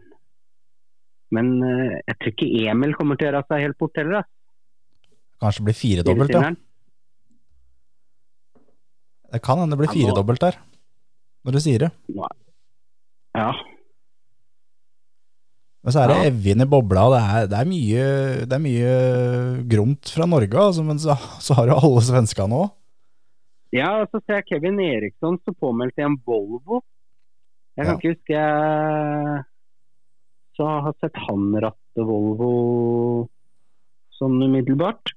Speaker 4: Men eh, jeg tror ikke Emil kommer til å gjøre seg helt bort heller. da.
Speaker 3: Kanskje blir firedobbelt, ja.
Speaker 4: Firestilleren.
Speaker 3: Det kan hende det blir
Speaker 4: Ja, nå-
Speaker 3: firedobbelt der, når du sier det.
Speaker 4: Ja.
Speaker 3: Men så er det
Speaker 4: Ja.
Speaker 3: Evjen i bobla, og det er, det er mye, det er mye gromt fra Norge, altså, men så, så har jo alle svenskene òg.
Speaker 4: ja, og så ser jeg Kevin Eriksson som påmeldte i en Volvo. Jeg kan
Speaker 3: Ja.
Speaker 4: ikke huske jeg så har sett han ratte Volvo sånn umiddelbart.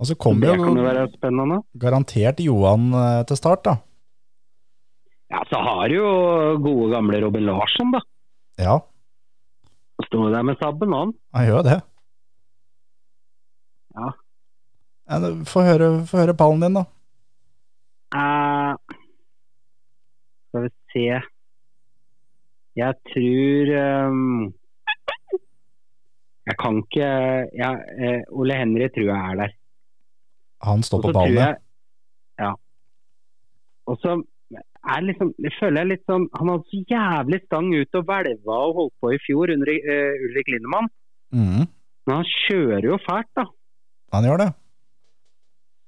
Speaker 3: Og så
Speaker 4: Det
Speaker 3: kommer jo
Speaker 4: kan jo være spennende.
Speaker 3: garantert Johan eh, til start, da.
Speaker 4: Ja, så har jo gode gamle Robin Larsson, da.
Speaker 3: Ja,
Speaker 4: Sto der med sabben, han.
Speaker 3: han gjør jo det.
Speaker 4: Ja.
Speaker 3: Ja, du- Få høre, få høre pallen din, da.
Speaker 4: Eh, skal vi se Jeg tror ehm, Jeg kan ikke ja, eh, Ole Henry tror jeg er der.
Speaker 3: Han står på
Speaker 4: Og så tror
Speaker 3: pallen, ja.
Speaker 4: jeg- Ja. Og så er liksom, jeg føler jeg litt sånn Han hadde så jævlig stang ut og hvelva og holdt på i fjor under eh, Ulrik Lindemann.
Speaker 3: Mhm,
Speaker 4: Men han kjører jo fælt, da.
Speaker 3: han gjør det.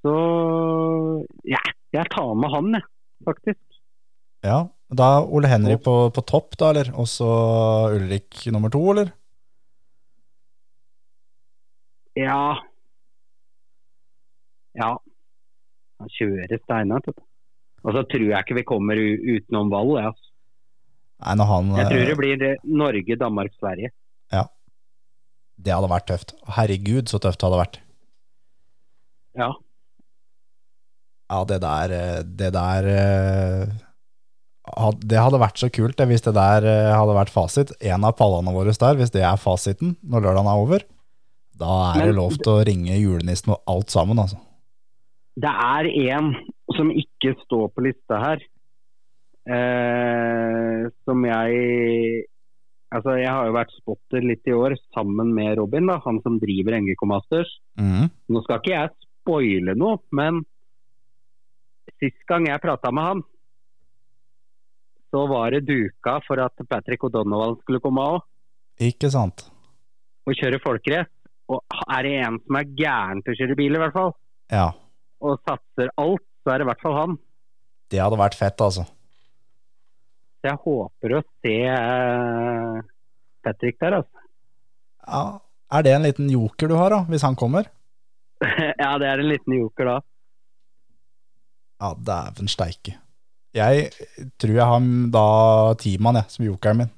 Speaker 4: Så ja, jeg tar med han, jeg, faktisk.
Speaker 3: Ja. Da Ole Henry på, på topp, da, eller? Og så Ulrik nummer to, eller?
Speaker 4: Ja. Ja. Han kjører steinhardt. vet du. Og så tror jeg ikke vi kommer u- utenom Vall. Jeg, altså.
Speaker 3: Nei, når han
Speaker 4: jeg tror
Speaker 3: eh,
Speaker 4: det blir eh, Norge, Danmark, Sverige.
Speaker 3: Det hadde vært tøft. Herregud, så tøft det hadde vært.
Speaker 4: Ja.
Speaker 3: Ja, det der eh, Det der eh, had- Det hadde vært så kult det, hvis det der eh, hadde vært fasit. En av pallene våre der, hvis det er fasiten når lørdagen er over, da er det
Speaker 4: Men-
Speaker 3: lov til å ringe julenissen og alt sammen, altså.
Speaker 4: Det er en som ikke står på lista her, eh, som jeg Altså, jeg har jo vært spotter litt i år, sammen med Robin, da, han som driver NGK Masters.
Speaker 3: Mhm.
Speaker 4: Nå skal ikke jeg spoile noe, men sist gang jeg prata med han, så var det duka for at Patrick O'Donovan skulle komme òg
Speaker 3: Ikke sant?
Speaker 4: og kjøre folkerett. Og er det en som er gæren til å kjøre bil, i hvert fall,
Speaker 3: Ja.
Speaker 4: og satser alt, så er det i hvert fall han.
Speaker 3: Det hadde vært fett, altså.
Speaker 4: Så jeg håper å se eh, Patrick der, altså.
Speaker 3: Ja. Er det en liten joker du har, da, hvis han kommer?
Speaker 4: ja, det er en liten joker da.
Speaker 3: Ja, dæven steike. Jeg tror jeg har da Timan, jeg, som jokeren min.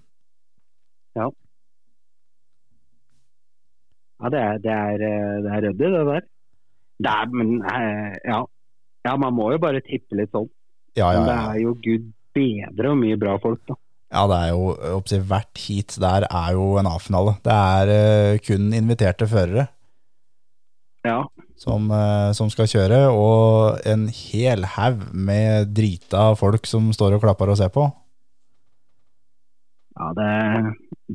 Speaker 4: Ja, det er, det er, eh, det er ryddig, det der. Det er, men eh, ja. ja, man må jo bare tippe litt sånn.
Speaker 3: Ja, ja,
Speaker 4: Men det
Speaker 3: ja.
Speaker 4: er jo gud bedre og mye bra folk, da.
Speaker 3: Ja, det er jo jeg håper å si, Hvert heat der er jo en A-finale. Det er eh, kun inviterte førere
Speaker 4: Ja,
Speaker 3: som, eh, som skal kjøre, og en hel haug med drita folk som står og klapper og ser på.
Speaker 4: ja det,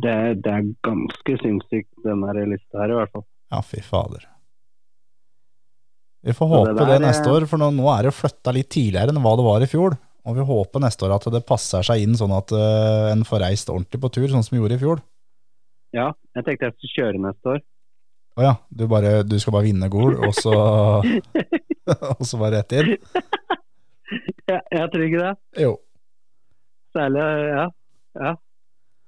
Speaker 4: det, det er ganske sinnssykt, den her lista her, i hvert fall.
Speaker 3: Ja, fy fader. Vi får
Speaker 4: Ja,
Speaker 3: håpe
Speaker 4: det
Speaker 3: det,
Speaker 4: der eh, er-
Speaker 3: neste år, for nå, nå er det flytta litt tidligere enn hva det var i fjor. Og vi håper neste år at det passer seg inn sånn at eh, en får reist ordentlig på tur, sånn som vi gjorde i fjor.
Speaker 4: Ja, jeg tenkte jeg skulle kjøre neste år.
Speaker 3: Å ja, du, bare, du skal bare vinne Gol, og så Og så bare rett inn?
Speaker 4: Ja, jeg tror ikke det.
Speaker 3: Jo.
Speaker 4: Særlig, ja. ja.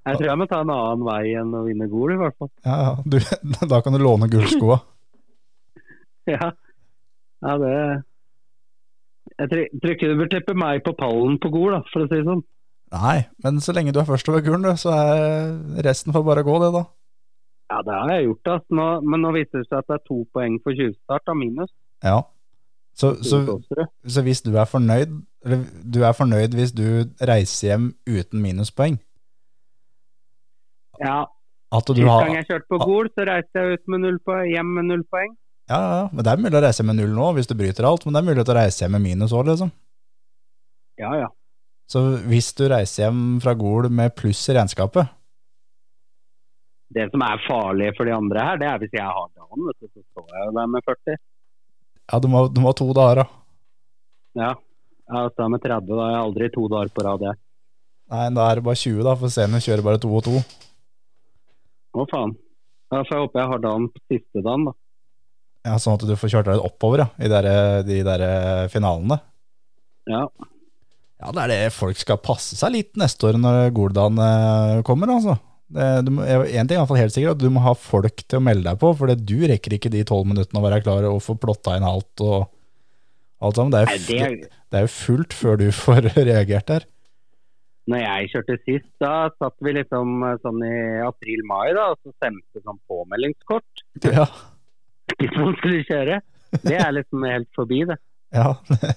Speaker 4: Jeg tror jeg må ta en annen vei enn å vinne Gol, i hvert fall.
Speaker 3: Ja, ja. Du, da kan du låne gullskoa.
Speaker 4: Ja, ja det Jeg tror, tror ikke du bør teppe meg på pallen på Gol, da, for å si det sånn.
Speaker 3: Nei, men så lenge du er først over kulen, du, så er resten får bare gå, det, da.
Speaker 4: Ja, det har jeg gjort, da. Nå, men nå viser det seg at det er to poeng for tjuvstart, da, minus.
Speaker 3: Ja. Så, så,
Speaker 4: Tjuvstoppere.
Speaker 3: så hvis du er fornøyd Eller du er fornøyd hvis du reiser hjem uten minuspoeng
Speaker 4: Ja,
Speaker 3: At du
Speaker 4: Sist
Speaker 3: har Ah.
Speaker 4: gang
Speaker 3: Ja,
Speaker 4: jeg kjørte på Gol, så reiste jeg ut med null poeng, hjem med null poeng.
Speaker 3: ja, ja. Men det er mulig å reise hjem med null nå, hvis du bryter alt, men det er mulig å reise hjem med minus òg, liksom.
Speaker 4: Ja, ja.
Speaker 3: Så hvis du reiser hjem fra Gol med pluss i regnskapet
Speaker 4: Det som er farlig for de andre her, det er hvis jeg har dagen, vet du, så står jeg jo der med 40.
Speaker 3: Ja, du må, du må ha to dager, da.
Speaker 4: Ja. Jeg står med 30, da er jeg aldri to dager på rad, jeg.
Speaker 3: Nei, da er det bare 20, da, for senior kjører bare to og to.
Speaker 4: Å, faen. Ja, så jeg håper jeg har dagen på siste dagen, da.
Speaker 3: Ja, Sånn at du får kjørt deg litt oppover ja, i derre- de der eh, finalene.
Speaker 4: Ja.
Speaker 3: Ja, det er det folk skal passe seg litt neste år når Goldan eh, kommer, altså. Det, du må, jeg- en ting er i hvert fall helt sikkert, at du må ha folk til å melde deg på, for det, du rekker ikke de tolv minuttene å være klar og få plotta inn alt og alt sammen. Det er,
Speaker 4: Nei,
Speaker 3: jo
Speaker 4: det,
Speaker 3: fu- det er jo fullt før du får reagert der.
Speaker 4: når jeg kjørte sist, da satt vi liksom eh, sånn i april-mai, da, og så sendte sånn påmeldingskort
Speaker 3: Ja,
Speaker 4: hvis man skulle kjøre. Det er liksom helt forbi, det.
Speaker 3: ja.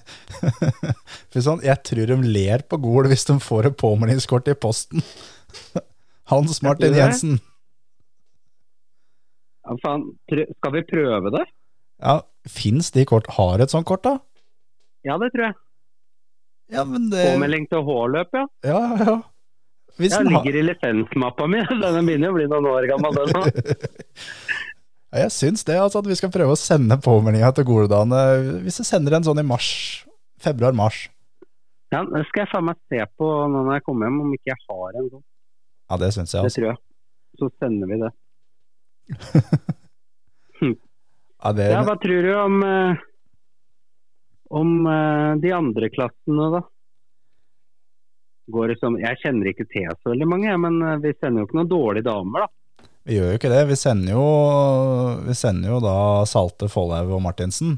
Speaker 3: For sånn, jeg tror de ler på Gol hvis de får et påmeldingskort i posten. Hans Martin
Speaker 4: det.
Speaker 3: Jensen.
Speaker 4: Ja, faen, tr- skal vi prøve det?
Speaker 3: Ja, Fins de kort? Har et sånt kort, da?
Speaker 4: Ja, det tror jeg.
Speaker 3: Ja, men det
Speaker 4: Påmelding til H-løp, ja.
Speaker 3: Ja, ja, ja. Hvis
Speaker 4: Ja,
Speaker 3: den
Speaker 4: den
Speaker 3: har-
Speaker 4: ligger i lisensmappa mi. Den begynner å bli noen år gammel, den nå.
Speaker 3: Ja, jeg syns det, altså, at vi skal prøve å sende påmeldinga til Goledane. Hvis jeg sender en sånn i mars, februar-mars.
Speaker 4: Ja, det skal jeg faen meg se på når jeg kommer hjem, om ikke jeg har en sånn.
Speaker 3: Ja, det syns jeg,
Speaker 4: Det
Speaker 3: altså.
Speaker 4: tror jeg. Så sender vi det.
Speaker 3: Ja, det,
Speaker 4: Ja, hva tror du om, eh, om eh, de andre klassene, da? Går det som, jeg kjenner ikke til så veldig mange, jeg, men eh, vi sender jo ikke noen dårlige damer, da.
Speaker 3: vi gjør jo ikke det. Vi sender jo, vi sender jo da Salte, Follhaug og Martinsen.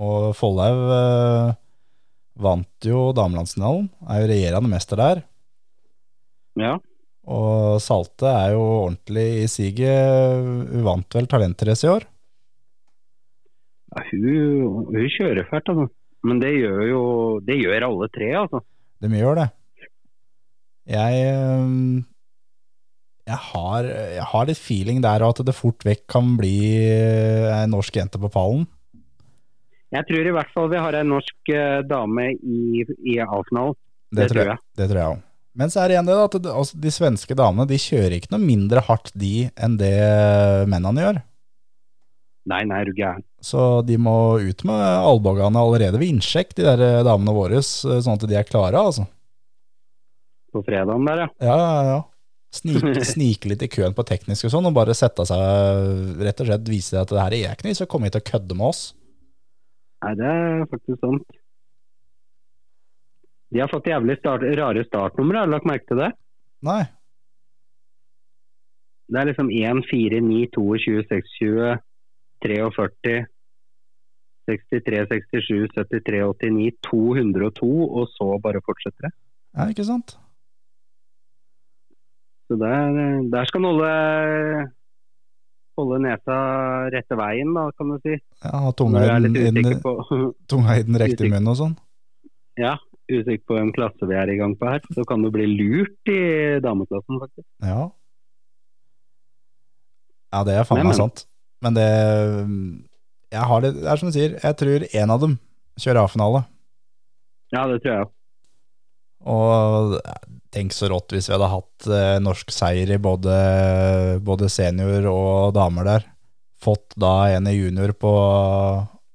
Speaker 3: Og Follhaug eh, vant jo damelandsfinalen. Er jo regjerende mester der.
Speaker 4: Ja,
Speaker 3: Og Salte er jo ordentlig i siget. Hun vant vel talentrace i år.
Speaker 4: ja hun, hun kjører fælt, altså. Men det gjør jo det gjør alle tre, altså.
Speaker 3: De gjør det. Jeg øhm, jeg har, jeg har litt feeling der at det fort vekk kan bli øh, ei norsk jente på pallen.
Speaker 4: Jeg tror i hvert fall vi har en norsk eh, dame i, i A-finalen.
Speaker 3: Det, tror jeg. Det tror jeg òg. Men så er det igjen det da, at det- altså, de svenske damene de kjører ikke noe mindre hardt de enn det mennene gjør.
Speaker 4: Nei, nei, er du gæren.
Speaker 3: Så de må ut med albuene allerede ved innsjekk, de der eh, damene våre, sånn at de er klare, altså.
Speaker 4: På fredagen der, ja.
Speaker 3: Ja, ja, ja. Snike, snike litt i køen på teknisk og sånn, og bare sette seg, rett og slett vise at det her er jeg ikke noe, så kom hit og kødde med oss.
Speaker 4: Nei, det er faktisk sant. De har fått jævlig start, rare startnumre, har du lagt merke til det?
Speaker 3: Nei,
Speaker 4: Det er liksom 1, 4, 9, 22, 26, 43, 63, 67, 73, 89, 202, og så bare fortsetter det.
Speaker 3: ja, ikke sant?
Speaker 4: Så der, der skal han holde, holde nesa rette veien, da, kan du si.
Speaker 3: Ja, ha
Speaker 4: Når
Speaker 3: tunga
Speaker 4: jeg
Speaker 3: i
Speaker 4: er
Speaker 3: den,
Speaker 4: litt
Speaker 3: i
Speaker 4: usikker
Speaker 3: den-
Speaker 4: på,
Speaker 3: tunga i den riktige
Speaker 4: usikker.
Speaker 3: munnen og sånn.
Speaker 4: ja, usikker på hvem klasse vi er i gang på her, så kan du bli lurt i dameklassen, faktisk.
Speaker 3: Ja. Ja, det er faen
Speaker 4: Nei,
Speaker 3: meg
Speaker 4: men-
Speaker 3: sant. Men det Jeg har det, det er som du sier, jeg tror én av dem kjører A-finale.
Speaker 4: Ja, det tror jeg. også.
Speaker 3: Og eh, tenk så rått hvis vi hadde hatt eh, norsk seier i både, både senior og damer der. Fått da en i junior på,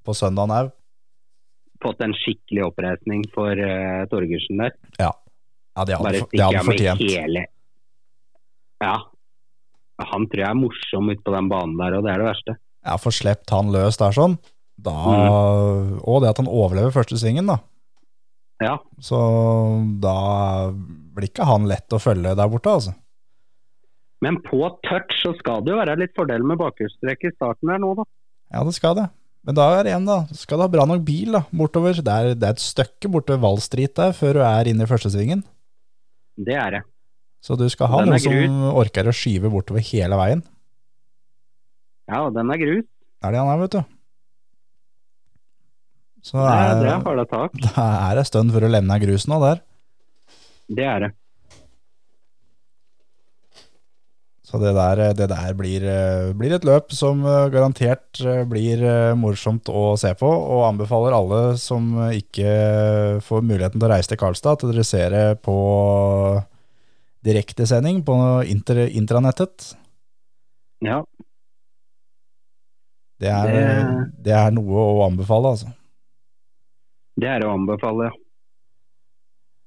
Speaker 3: på søndagen òg.
Speaker 4: Fått en skikkelig oppreisning for eh, Torgersen der.
Speaker 3: Ja, det
Speaker 4: Bare
Speaker 3: hadde, det hadde
Speaker 4: stikker jeg med
Speaker 3: fortjent.
Speaker 4: hele Ja. Han tror jeg er morsom ute på den banen der, og det er det verste.
Speaker 3: Ja, Få sluppet han løs der sånn. Da,
Speaker 4: Mm.
Speaker 3: Og det at han overlever første svingen, da.
Speaker 4: Ja,
Speaker 3: Så da blir ikke han lett å følge der borte, altså.
Speaker 4: Men på touch så skal det jo være litt fordel med bakhjulstrekk i starten her nå, da.
Speaker 3: Ja, det skal det. Men da er det igjen, da. Skal du ha bra nok bil da, bortover? Det er, det er et stykke borte ved Wall Street der før du er inne i førstesvingen.
Speaker 4: Det er det.
Speaker 3: Så du skal ha
Speaker 4: Den er
Speaker 3: noen som orker å skyve bortover hele veien.
Speaker 4: Ja, og den er grus.
Speaker 3: Det er det han er, vet du. Så
Speaker 4: Det er, det er
Speaker 3: er,
Speaker 4: harde tak.
Speaker 3: det er en stund før du lemner grusen nå der.
Speaker 4: Det er det.
Speaker 3: Så det der, det der blir, eh, blir et løp som eh, garantert eh, blir eh, morsomt å se på, og anbefaler alle som eh, ikke får muligheten til å reise til Karlstad, at dere ser det på direktesending på inter, intranettet.
Speaker 4: Ja.
Speaker 3: Det er, det er noe å anbefale, altså.
Speaker 4: Det er å anbefale, ja.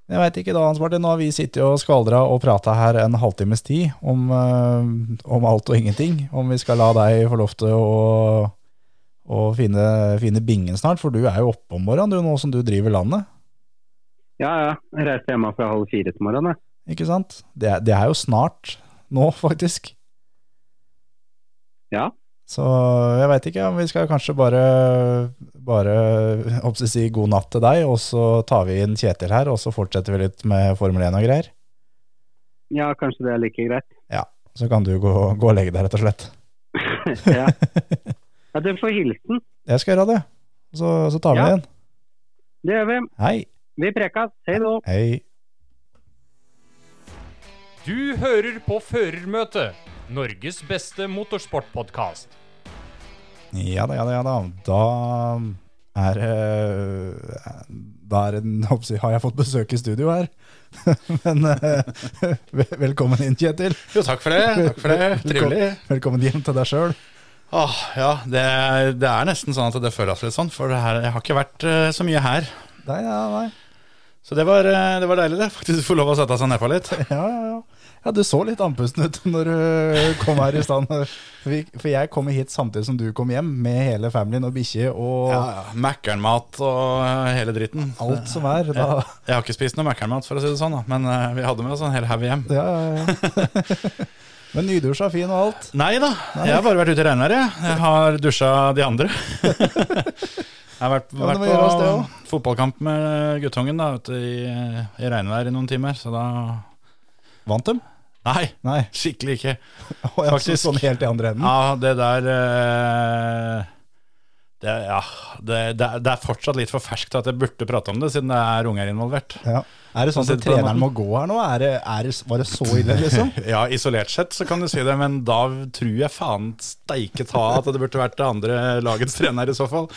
Speaker 3: Jeg veit ikke da, Hans Martin. Nå har vi sittet og skvaldra og prata her en halvtimes tid om, eh, om alt og ingenting. Om vi skal la deg få lov til å, å finne, finne bingen snart, for du er jo oppe om morgenen du nå som du driver landet.
Speaker 4: Ja, ja. Jeg reiser hjemme fra halv fire til morgenen, jeg.
Speaker 3: Ikke sant? Det, er- det er jo snart nå, faktisk.
Speaker 4: Ja.
Speaker 3: Så jeg veit ikke om vi skal kanskje bare, bare håper jeg å si god natt til deg, og så tar vi inn Kjetil her, og så fortsetter vi litt med Formel 1 og greier.
Speaker 4: Ja, kanskje det er like greit.
Speaker 3: Så kan du gå, gå og legge deg, rett og slett.
Speaker 4: ja. ja, du får hilsen.
Speaker 3: Jeg skal gjøre det. Så, så tar vi
Speaker 4: Ja.
Speaker 3: det igjen.
Speaker 4: Det gjør vi.
Speaker 3: Hei.
Speaker 4: Vi prekas. Hei då.
Speaker 3: Hei.
Speaker 5: Du hører på Førermøtet, Norges beste motorsportpodkast.
Speaker 3: Ja da, ja da, ja da. Da er eh, Da er det en- håper jeg, Har jeg fått besøk i studio her? Men eh, vel- velkommen inn, Kjetil.
Speaker 6: Jo, takk for det. Takk for det. Trivelig.
Speaker 3: Velkommen- Velkommen hjem til deg sjøl.
Speaker 6: Åh, ja, det, er- det er nesten sånn at det føles litt sånn, for det her, jeg har ikke vært eh, så mye her.
Speaker 3: Nei, nei, nei.
Speaker 6: Så det var, eh, det var deilig, det. Faktisk få lov å sette seg nedpå litt.
Speaker 3: Ja, ja, ja. Ja, Du så litt andpusten ut når du kom her i stand. For vi- For jeg kom hit samtidig som du kom hjem, med hele familien og bikkje og
Speaker 6: Ja, ja. Mækkernmat og eh, hele dritten.
Speaker 3: alt som er. Da,
Speaker 6: Jeg har ikke spist noe Mækkernmat, for å si det sånn, da. men eh, vi hadde med oss en hel haug hjem.
Speaker 3: Ja, ja, ja. Men nydusja fin og alt.
Speaker 6: Nei da, jeg har bare vært ute i regnværet. jeg. Jeg har dusja de andre. jeg har vært,
Speaker 3: men
Speaker 6: vært
Speaker 3: det må gjøres det
Speaker 6: på
Speaker 3: også.
Speaker 6: fotballkamp med guttungen da, ute i, i regnvær i noen timer, så da
Speaker 3: Vant dem?
Speaker 6: Nei,
Speaker 3: Nei,
Speaker 6: skikkelig ikke.
Speaker 3: og jeg
Speaker 6: Faktisk.
Speaker 3: Faktisk. sånn helt i andre enden.
Speaker 6: Ja, det der eh, Det, ja, det, det, er- det er fortsatt litt for ferskt at jeg burde prate om det, siden det er unger involvert.
Speaker 3: Ja. Er det sånn at
Speaker 6: Sitter på den
Speaker 3: treneren må gå her nå? Er det, er det, var det så ille, liksom?
Speaker 6: Ja, isolert sett så kan du si det, men da tror jeg faen steike ta at det burde vært det andre lagets trener i så fall.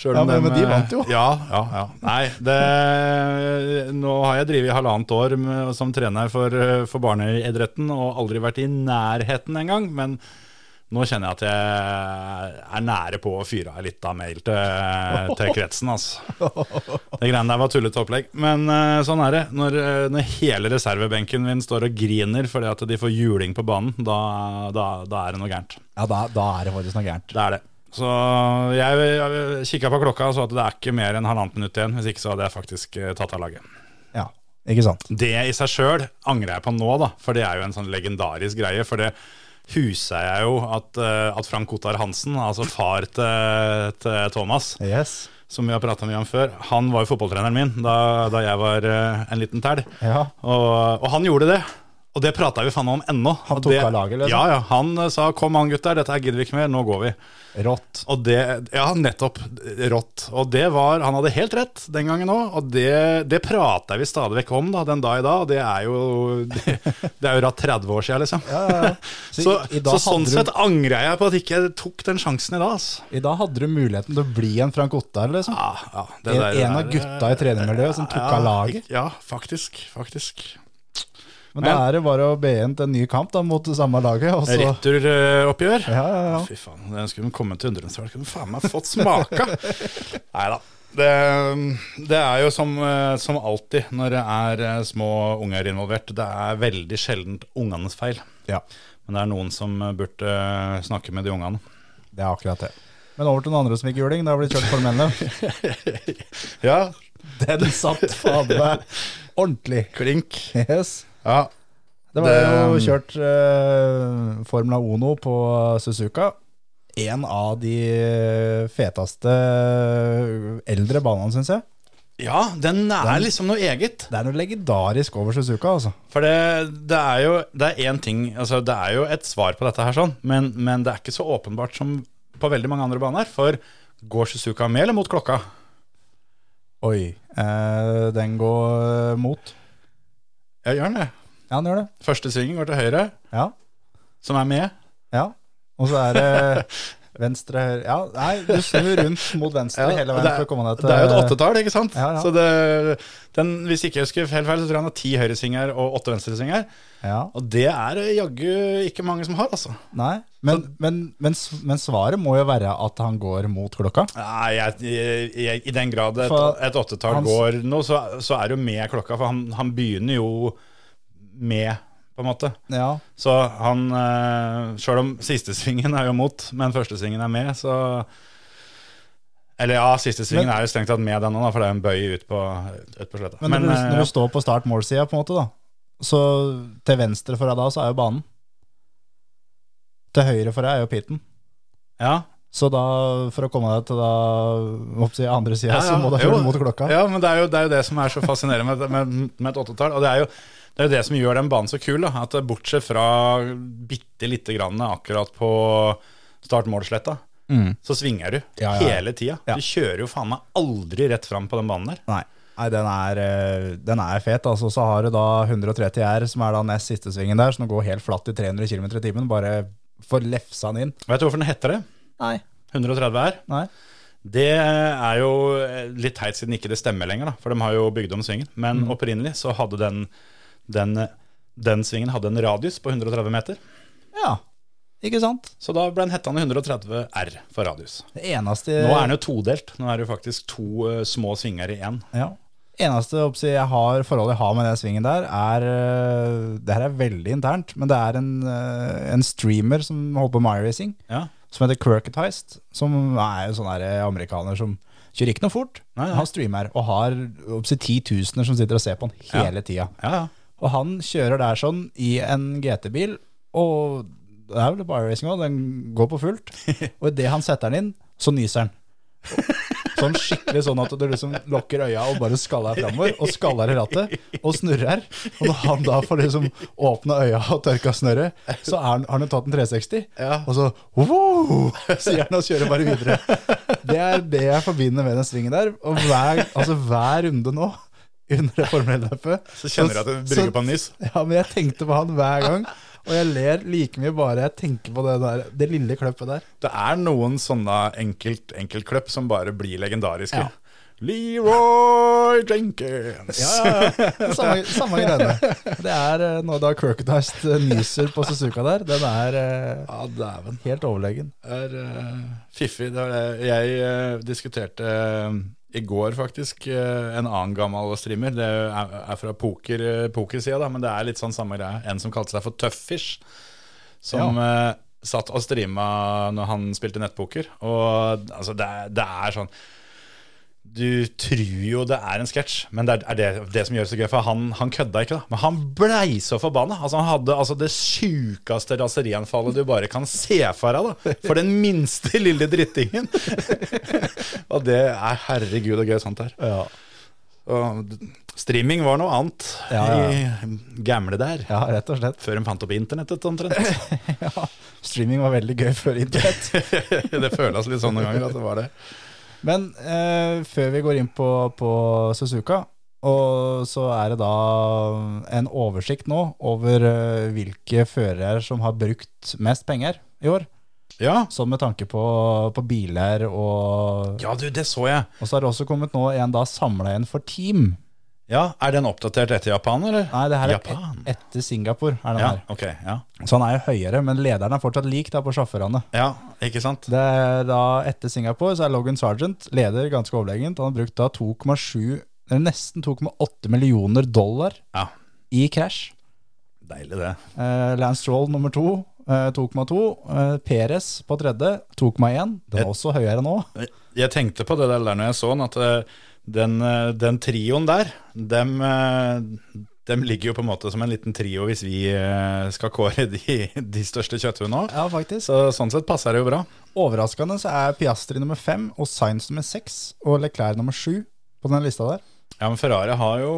Speaker 6: Selv
Speaker 3: Ja,
Speaker 6: om
Speaker 3: men-
Speaker 6: dem,
Speaker 3: men de
Speaker 6: eh,
Speaker 3: vant jo.
Speaker 6: Ja, ja, ja. Nei, det, nå har jeg drevet i halvannet år med, som trener for, eh, for barneidretten og aldri vært i nærheten engang, men nå kjenner jeg at jeg er nære på å fyre av litt av mail til, til kretsen, altså. Det greiene der var tullete opplegg. Men eh, sånn er det. Når, eh, når hele reservebenken min står og griner fordi at de får juling på banen, da, da, da er det noe gærent.
Speaker 3: Ja, da, da er det faktisk noe gærent.
Speaker 6: Det er det. Så jeg, jeg kikka på klokka og så at det er ikke mer enn halvannet minutt igjen. Hvis ikke så hadde jeg faktisk eh, tatt av laget.
Speaker 3: Ja, ikke sant?
Speaker 6: Det i seg sjøl angrer jeg på nå, da, for det er jo en sånn legendarisk greie. For det huser jeg jo at, eh, at Frank Ottar Hansen, altså far til, til Thomas,
Speaker 3: Yes.
Speaker 6: som vi har prata mye om før, han var jo fotballtreneren min da, da jeg var eh, en liten tæl.
Speaker 3: Ja.
Speaker 6: Og, og han gjorde det. Og det prata vi faen om ennå.
Speaker 3: Han
Speaker 6: Og
Speaker 3: tok
Speaker 6: det-
Speaker 3: av laget, liksom?
Speaker 6: Ja, ja. Han eh, sa 'kom an, gutter, dette her gidder vi ikke mer, nå går vi'.
Speaker 3: Rått.
Speaker 6: Og det, ja, nettopp. Rått. Og det var Han hadde helt rett den gangen òg, og det, det prata vi stadig vekk om da, den dag i dag. Og det er jo Det, det er jo rett 30 år sia, liksom.
Speaker 3: Så i-
Speaker 6: Så, så,
Speaker 3: i dag
Speaker 6: sånn
Speaker 3: hadde du-
Speaker 6: sett angrer jeg på at jeg ikke tok den sjansen i dag, altså.
Speaker 3: I dag hadde du muligheten til å bli en Frank Ottar, liksom.
Speaker 6: Ja, ja, det
Speaker 3: En-
Speaker 6: der- det
Speaker 3: en av
Speaker 6: der-
Speaker 3: gutta i trenermiljøet som tok av laget.
Speaker 6: Ja, faktisk. faktisk.
Speaker 3: Men da er det bare å be inn til en ny kamp da, mot det samme laget. Og så,
Speaker 6: Returoppgjør.
Speaker 3: ja, ja, ja.
Speaker 6: Fy faen, den skulle de komme til undrens verk. Kunne faen meg fått smaka! Nei da. Det, det er jo som, eh, som alltid når det er eh, små unger involvert. Det er veldig sjelden ungenes feil.
Speaker 3: ja,
Speaker 6: Men det er noen som eh, burde eh, snakke med de ungene.
Speaker 3: det er akkurat det. Men over til den andre som gikk juling. Det har blitt kjørt formellene.
Speaker 6: Ja,
Speaker 3: Den satt fader meg ordentlig.
Speaker 6: klink.
Speaker 3: Yes.
Speaker 6: Ja,
Speaker 3: Det var jo
Speaker 6: Det-
Speaker 3: kjørt eh, Formula Ono på Suzuka. En av de feteste eh, eldre banene, syns jeg.
Speaker 6: ja den er liksom noe eget.
Speaker 3: Det er noe legendarisk over Suzuka, altså.
Speaker 6: For det, det er jo Det er én ting altså Det er jo et svar på dette her, sånn, men, men det er ikke så åpenbart som på veldig mange andre baner. For går Suzuka med eller mot klokka?
Speaker 3: Oi. Eh, den går mot.
Speaker 6: Ja, gjør den det.
Speaker 3: Ja, den gjør det.
Speaker 6: Første svingen går til høyre,
Speaker 3: Ja.
Speaker 6: som er med.
Speaker 3: ja. Og så er det venstre høyre Ja, nei, du snur rundt mot venstre hele
Speaker 6: det,
Speaker 3: veien for å komme
Speaker 6: er,
Speaker 3: deg til
Speaker 6: det er jo et åttetall, ikke sant?
Speaker 3: Ja, ja.
Speaker 6: Så det, den, hvis ikke jeg husker helt feil, så tror jeg han har ti høyresvinger og åtte venstresvinger.
Speaker 3: Ja.
Speaker 6: Og det er det jaggu ikke mange som har, altså.
Speaker 3: Nei. Men, men, men, s- men svaret må jo være at han går mot klokka.
Speaker 6: Nei, jeg, jeg, jeg, I den grad et,
Speaker 3: For
Speaker 6: et åttetall
Speaker 3: hans-
Speaker 6: går nå, så, så er det jo med klokka, for han, han begynner jo med, på en måte.
Speaker 3: Ja.
Speaker 6: Så han eh, Sjøl om siste svingen er jo mot, men første svingen er med, så Eller ja, siste svingen
Speaker 3: Men-
Speaker 6: er jo strengt tatt med den òg, for det er en bøy ut på, ut på sletta.
Speaker 3: Men, når, du,
Speaker 6: eh,
Speaker 3: når du står på start-mål-sida, på en måte, da Så til venstre for deg da, så er jo banen. Til høyre for deg er jo piten.
Speaker 6: ja,
Speaker 3: Så da, for å komme deg til da opp til andre sida,
Speaker 6: ja,
Speaker 3: så må du
Speaker 6: jo,
Speaker 3: følge mot klokka.
Speaker 6: Ja, men det er jo det, er jo det som er så fascinerende med, med, med et åttetall. Og det er jo det, er jo det som gjør den banen så kul, da, at eh, bortsett fra bitte lite grann akkurat på start-mål-sletta,
Speaker 3: Mm.
Speaker 6: så svinger du
Speaker 3: Ja, ja, ja.
Speaker 6: hele tida.
Speaker 3: Ja.
Speaker 6: Du kjører jo faen meg aldri rett fram på den banen der.
Speaker 3: Nei, Nei den, er, eh, den er fet. Altså, så har du da 130 R, som er da nest siste svingen der, som går helt flatt i 300 km i timen. Bare får lefsa den inn.
Speaker 6: Vet du hvorfor den heter det?
Speaker 3: Nei.
Speaker 6: 130 R?
Speaker 3: Nei.
Speaker 6: Det er jo eh, litt teit siden ikke det stemmer lenger, da, for de har jo bygd om svingen. Men
Speaker 3: Mm.
Speaker 6: opprinnelig så hadde den, den, den svingen hadde en radius på 130 meter.
Speaker 3: Ja, ikke sant?
Speaker 6: Så da ble den hettende 130 R for radius.
Speaker 3: Det eneste
Speaker 6: Nå er den jo todelt. Nå er det jo faktisk to eh, små svinger i én.
Speaker 3: Ja. Eneste oppsi, jeg har, forholdet jeg har med den svingen der, er øh, Det her er veldig internt, men det er en, øh, en streamer som holder på med iRacing,
Speaker 6: Ja.
Speaker 3: som heter Crocketheist, som er jo sånn der amerikaner som kjører ikke noe fort.
Speaker 6: Nei, nei.
Speaker 3: Han streamer og har oppsi titusener som sitter og ser på han hele tida.
Speaker 6: Ja, ja.
Speaker 3: Og han kjører der sånn i en GT-bil, og det er vel på iRacing òg, den går på fullt. Og idet han setter den inn, så nyser han. Sånn skikkelig sånn at du liksom lukker øya og bare skaller framover, og skaller i rattet, og snurrer. Og når han da får liksom åpna øya og tørka snørret, så er han, har han jo tatt en 360, og så wow, sier han og kjører bare videre. Det er det jeg forbinder med den svingen der. Og hver, altså hver runde nå under det formelløpet
Speaker 6: Så kjenner du at du brygger på en nyss.
Speaker 3: Ja, men jeg tenkte på han hver gang. Og jeg ler like mye bare jeg tenker på det, der, det lille kløppet der.
Speaker 6: Det er noen sånne enkelt, enkeltkløpp som bare blir legendariske. Leroy Jenkins.
Speaker 3: Ja, ja, ja. Samme, samme greiene. Det er eh, når da Crocodist nyser på Suzuka der, den er eh,
Speaker 6: Ja, dæven.
Speaker 3: helt overlegen.
Speaker 6: er eh, fiffig. Det er det. Jeg eh, diskuterte eh, i går faktisk eh, en annen gammel streamer. Det er, er fra poker, eh, pokersida, da, men det er litt sånn samme greie. En som kalte seg for Tøfffish, som eh, satt og streama når han spilte nettpoker. Og altså, det er, det er sånn du tror jo det er en sketsj, men det er, er det, det som gjør det så gøy. For han, han kødda ikke, da. Men han blei så forbanna. Altså, han hadde altså, det sjukeste raserianfallet du bare kan se for deg. da For den minste lille drittingen. og det er herregud og gøy sånt her.
Speaker 3: Ja.
Speaker 6: Og d- streaming var noe annet
Speaker 3: Ja,
Speaker 6: i gamle der.
Speaker 3: ja, rett og slett.
Speaker 6: Før de fant opp internettet, omtrent.
Speaker 3: Ja. Streaming var veldig gøy før internett.
Speaker 6: det føles litt sånn noen ganger at det var det.
Speaker 3: Men eh, før vi går inn på, på Suzuka, og så er det da en oversikt nå over eh, hvilke førere som har brukt mest penger i år.
Speaker 6: Ja.
Speaker 3: Sånn med tanke på, på biler, og,
Speaker 6: ja, du, det så jeg.
Speaker 3: og så har det også kommet nå en da samla en for team.
Speaker 6: Ja, Er den oppdatert etter Japan, eller?
Speaker 3: Nei, det her er
Speaker 6: Japan.
Speaker 3: et, etter Singapore. Er den
Speaker 6: Ja,
Speaker 3: her.
Speaker 6: ok, ja.
Speaker 3: Så han er jo høyere, men lederen er fortsatt lik da på sjåførene.
Speaker 6: Ja, ikke sant?
Speaker 3: Det er da Etter Singapore så er Logan Sergeant leder ganske overlegent. Han har brukt da 2,7 eller nesten 2,8 millioner dollar
Speaker 6: Ja,
Speaker 3: i cash.
Speaker 6: deilig det.
Speaker 3: Eh, Lance Stroll nummer to. eh, 2,2. Eh, Perez på tredje. 2,1. Den er også høyere nå.
Speaker 6: Jeg tenkte på det der der når jeg så den, at eh, den, eh, den trioen der, dem, eh, dem ligger jo på en måte som en liten trio hvis vi eh, skal kåre de, de største kjøtthundene òg.
Speaker 3: Ja, faktisk.
Speaker 6: Så sånn sett passer det jo bra.
Speaker 3: Overraskende så er Piastri nummer fem og Sainz nummer seks og Leclerc nummer sju på den lista der.
Speaker 6: Ja, men Ferrari har jo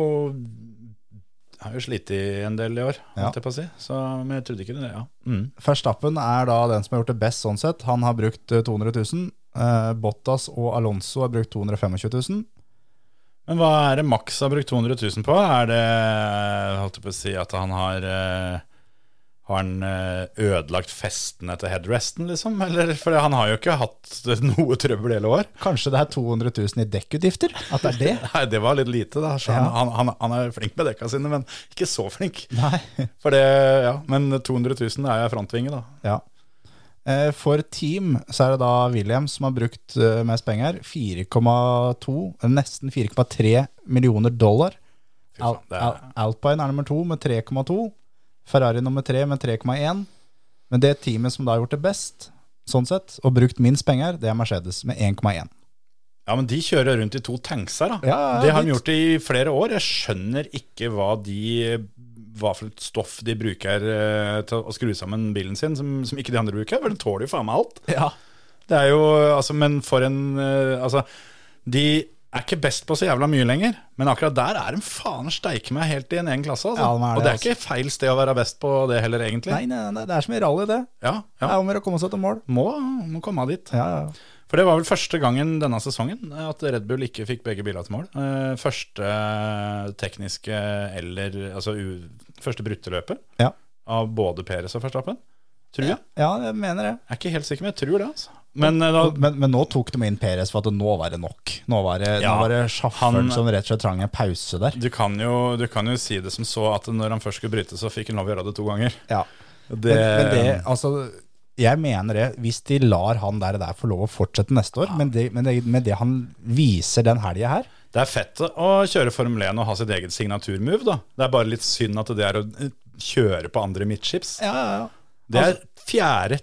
Speaker 6: har jo slitt i en del i år,
Speaker 3: Ja.
Speaker 6: holdt jeg på å si. Så, men jeg trodde ikke det. ja. Mm.
Speaker 3: Verstappen er da den som har gjort det best sånn sett. Han har brukt eh, 200 000. Eh, Bottas og Alonso har brukt 225 000.
Speaker 6: Men hva er det Max har brukt 200 000 på? Er det, holdt jeg på å si, at han har eh, Har han eh, ødelagt festen etter headresten, liksom? Eller, for han har jo ikke hatt noe trøbbel hele år.
Speaker 3: Kanskje det er 200 000 i dekkutgifter? At det er det?
Speaker 6: Nei, det var litt lite, da. Så han,
Speaker 3: Ja.
Speaker 6: han, han, han er flink med dekka sine, men ikke så flink.
Speaker 3: Nei.
Speaker 6: For det, ja, Men 200 000 er jo frontvinge, da.
Speaker 3: Ja. Eh, For team så er det da William som har brukt eh, mest penger. 4,2, eller eh, nesten 4,3 millioner dollar.
Speaker 6: Fy faen, det er,
Speaker 3: Al- Al- Alpine er nummer to med 3,2. Ferrari nummer tre med 3,1. Men det teamet som da har gjort det best, sånn sett, og brukt minst penger, det er Mercedes med 1,1.
Speaker 6: ja, men de kjører rundt i to tankser, da.
Speaker 3: Ja, ja,
Speaker 6: det har de
Speaker 3: litt.
Speaker 6: gjort i flere år. Jeg skjønner ikke hva de hva for et stoff de bruker eh, til å skru sammen bilen sin, som, som ikke de andre bruker. For den tåler jo faen meg alt.
Speaker 3: Ja.
Speaker 6: Det er jo, altså, Men for en eh, Altså, de er ikke best på så jævla mye lenger, men akkurat der er de faen steike meg helt i en egen klasse. Altså.
Speaker 3: Ja, de er det,
Speaker 6: Og det er
Speaker 3: altså.
Speaker 6: ikke feil sted å være best på det heller, egentlig.
Speaker 3: Nei, nei, nei, det er som i rally, det.
Speaker 6: Ja,
Speaker 3: Det
Speaker 6: ja.
Speaker 3: er om å gjøre å komme seg til mål.
Speaker 6: Må, må komme dit.
Speaker 3: Ja, ja.
Speaker 6: For det var vel første gangen denne sesongen eh, at Red Bull ikke fikk begge biler til mål. Eh, Første eh, tekniske eller altså u, første brutteløpet
Speaker 3: Ja.
Speaker 6: av både Peres og Verstappen. Tror jeg.
Speaker 3: ja jeg mener det.
Speaker 6: Jeg er ikke helt sikker, men jeg tror det. altså. Men eh, da,
Speaker 3: Men, men nå tok de inn Perez for at nå var det nok. Nå var det,
Speaker 6: Ja,
Speaker 3: nå var det sjåføren
Speaker 6: han-
Speaker 3: som rett og slett trang en pause der.
Speaker 6: du, kan jo, du kan jo si det som så at når han først skulle bryte, så fikk han lov å gjøre det to ganger.
Speaker 3: Ja.
Speaker 6: Det,
Speaker 3: men, men det, altså, jeg mener det, hvis de lar han der, der få lov å fortsette neste år, men, det, men det, med det han viser den helga her
Speaker 6: det er fett å kjøre Formel 1 og ha sitt eget signaturmove, da. Det er bare litt synd at det er å eh, kjøre på andre midtskips.
Speaker 3: ja, ja, Altså, ja.
Speaker 6: Det er fjerde,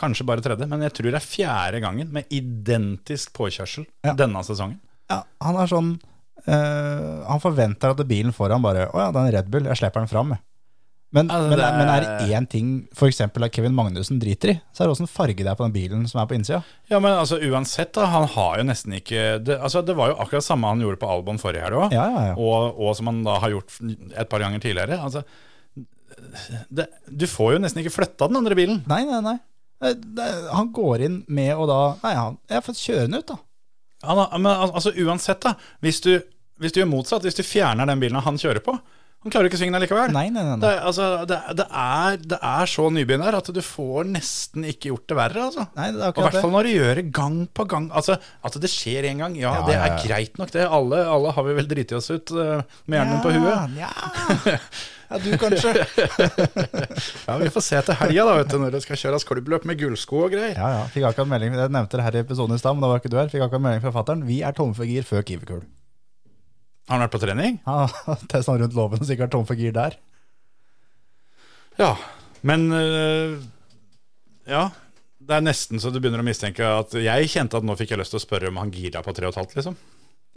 Speaker 6: kanskje bare tredje, men jeg tror det er fjerde gangen med identisk påkjørsel
Speaker 3: Ja.
Speaker 6: denne sesongen.
Speaker 3: Ja, han er sånn eh, Han forventer at bilen foran bare Å ja, det er en Red Bull, jeg slipper den fram. jeg». Men,
Speaker 6: Altså,
Speaker 3: men,
Speaker 6: det
Speaker 3: er,
Speaker 6: er-
Speaker 3: men er det én ting f.eks. at Kevin Magnussen driter i, så er det åssen farge det er på den bilen som er på innsida.
Speaker 6: Ja, men altså uansett, da. Han har jo nesten ikke det, altså, det var jo akkurat samme han gjorde på Albon forrige helg òg,
Speaker 3: Ja, ja, ja.
Speaker 6: og, og som han da har gjort et par ganger tidligere. Altså, det, du får jo nesten ikke flytta den andre bilen.
Speaker 3: Nei, nei, nei. Eh, Det, han går inn med å da Nei, han, jeg får kjøre den ut, da.
Speaker 6: Han har, men al- altså uansett, da. Hvis du, hvis du gjør motsatt, hvis du fjerner den bilen han kjører på Han klarer ikke svingen allikevel.
Speaker 3: Nei, nei, nei,
Speaker 6: Det,
Speaker 3: nei.
Speaker 6: er- altså, det, det, er, det er så nybegynner at du får nesten ikke gjort det verre, altså.
Speaker 3: Nei, det er
Speaker 6: Og i
Speaker 3: akkurat
Speaker 6: hvert
Speaker 3: det.
Speaker 6: fall når du gjør det gang på gang. Altså, At det skjer én gang, ja,
Speaker 3: Ja,
Speaker 6: det
Speaker 3: ja,
Speaker 6: er
Speaker 3: ja.
Speaker 6: greit nok, det. Alle, alle har vi vel driti oss ut eh, med hjernen på huet.
Speaker 3: Ja, ja. ja, du kanskje.
Speaker 6: Ja, Vi får se til helga, da, vet du, når det skal kjøres klubbløp med gullsko og greier.
Speaker 3: Ja, ja. Fikk akkurat melding, jeg nevnte det her i episoden i stad, men da var ikke du her. Fikk akkurat melding fra fattern. Vi er tomme for gir før Kiwi-kul.
Speaker 6: Har han vært på trening?
Speaker 3: Ja, Testa rundt låven og sikkert tom for gir der.
Speaker 6: Ja. Men eh, Ja. Det er nesten så du begynner å mistenke at jeg kjente at nå fikk jeg lyst til å spørre om han gira på 3,5, liksom.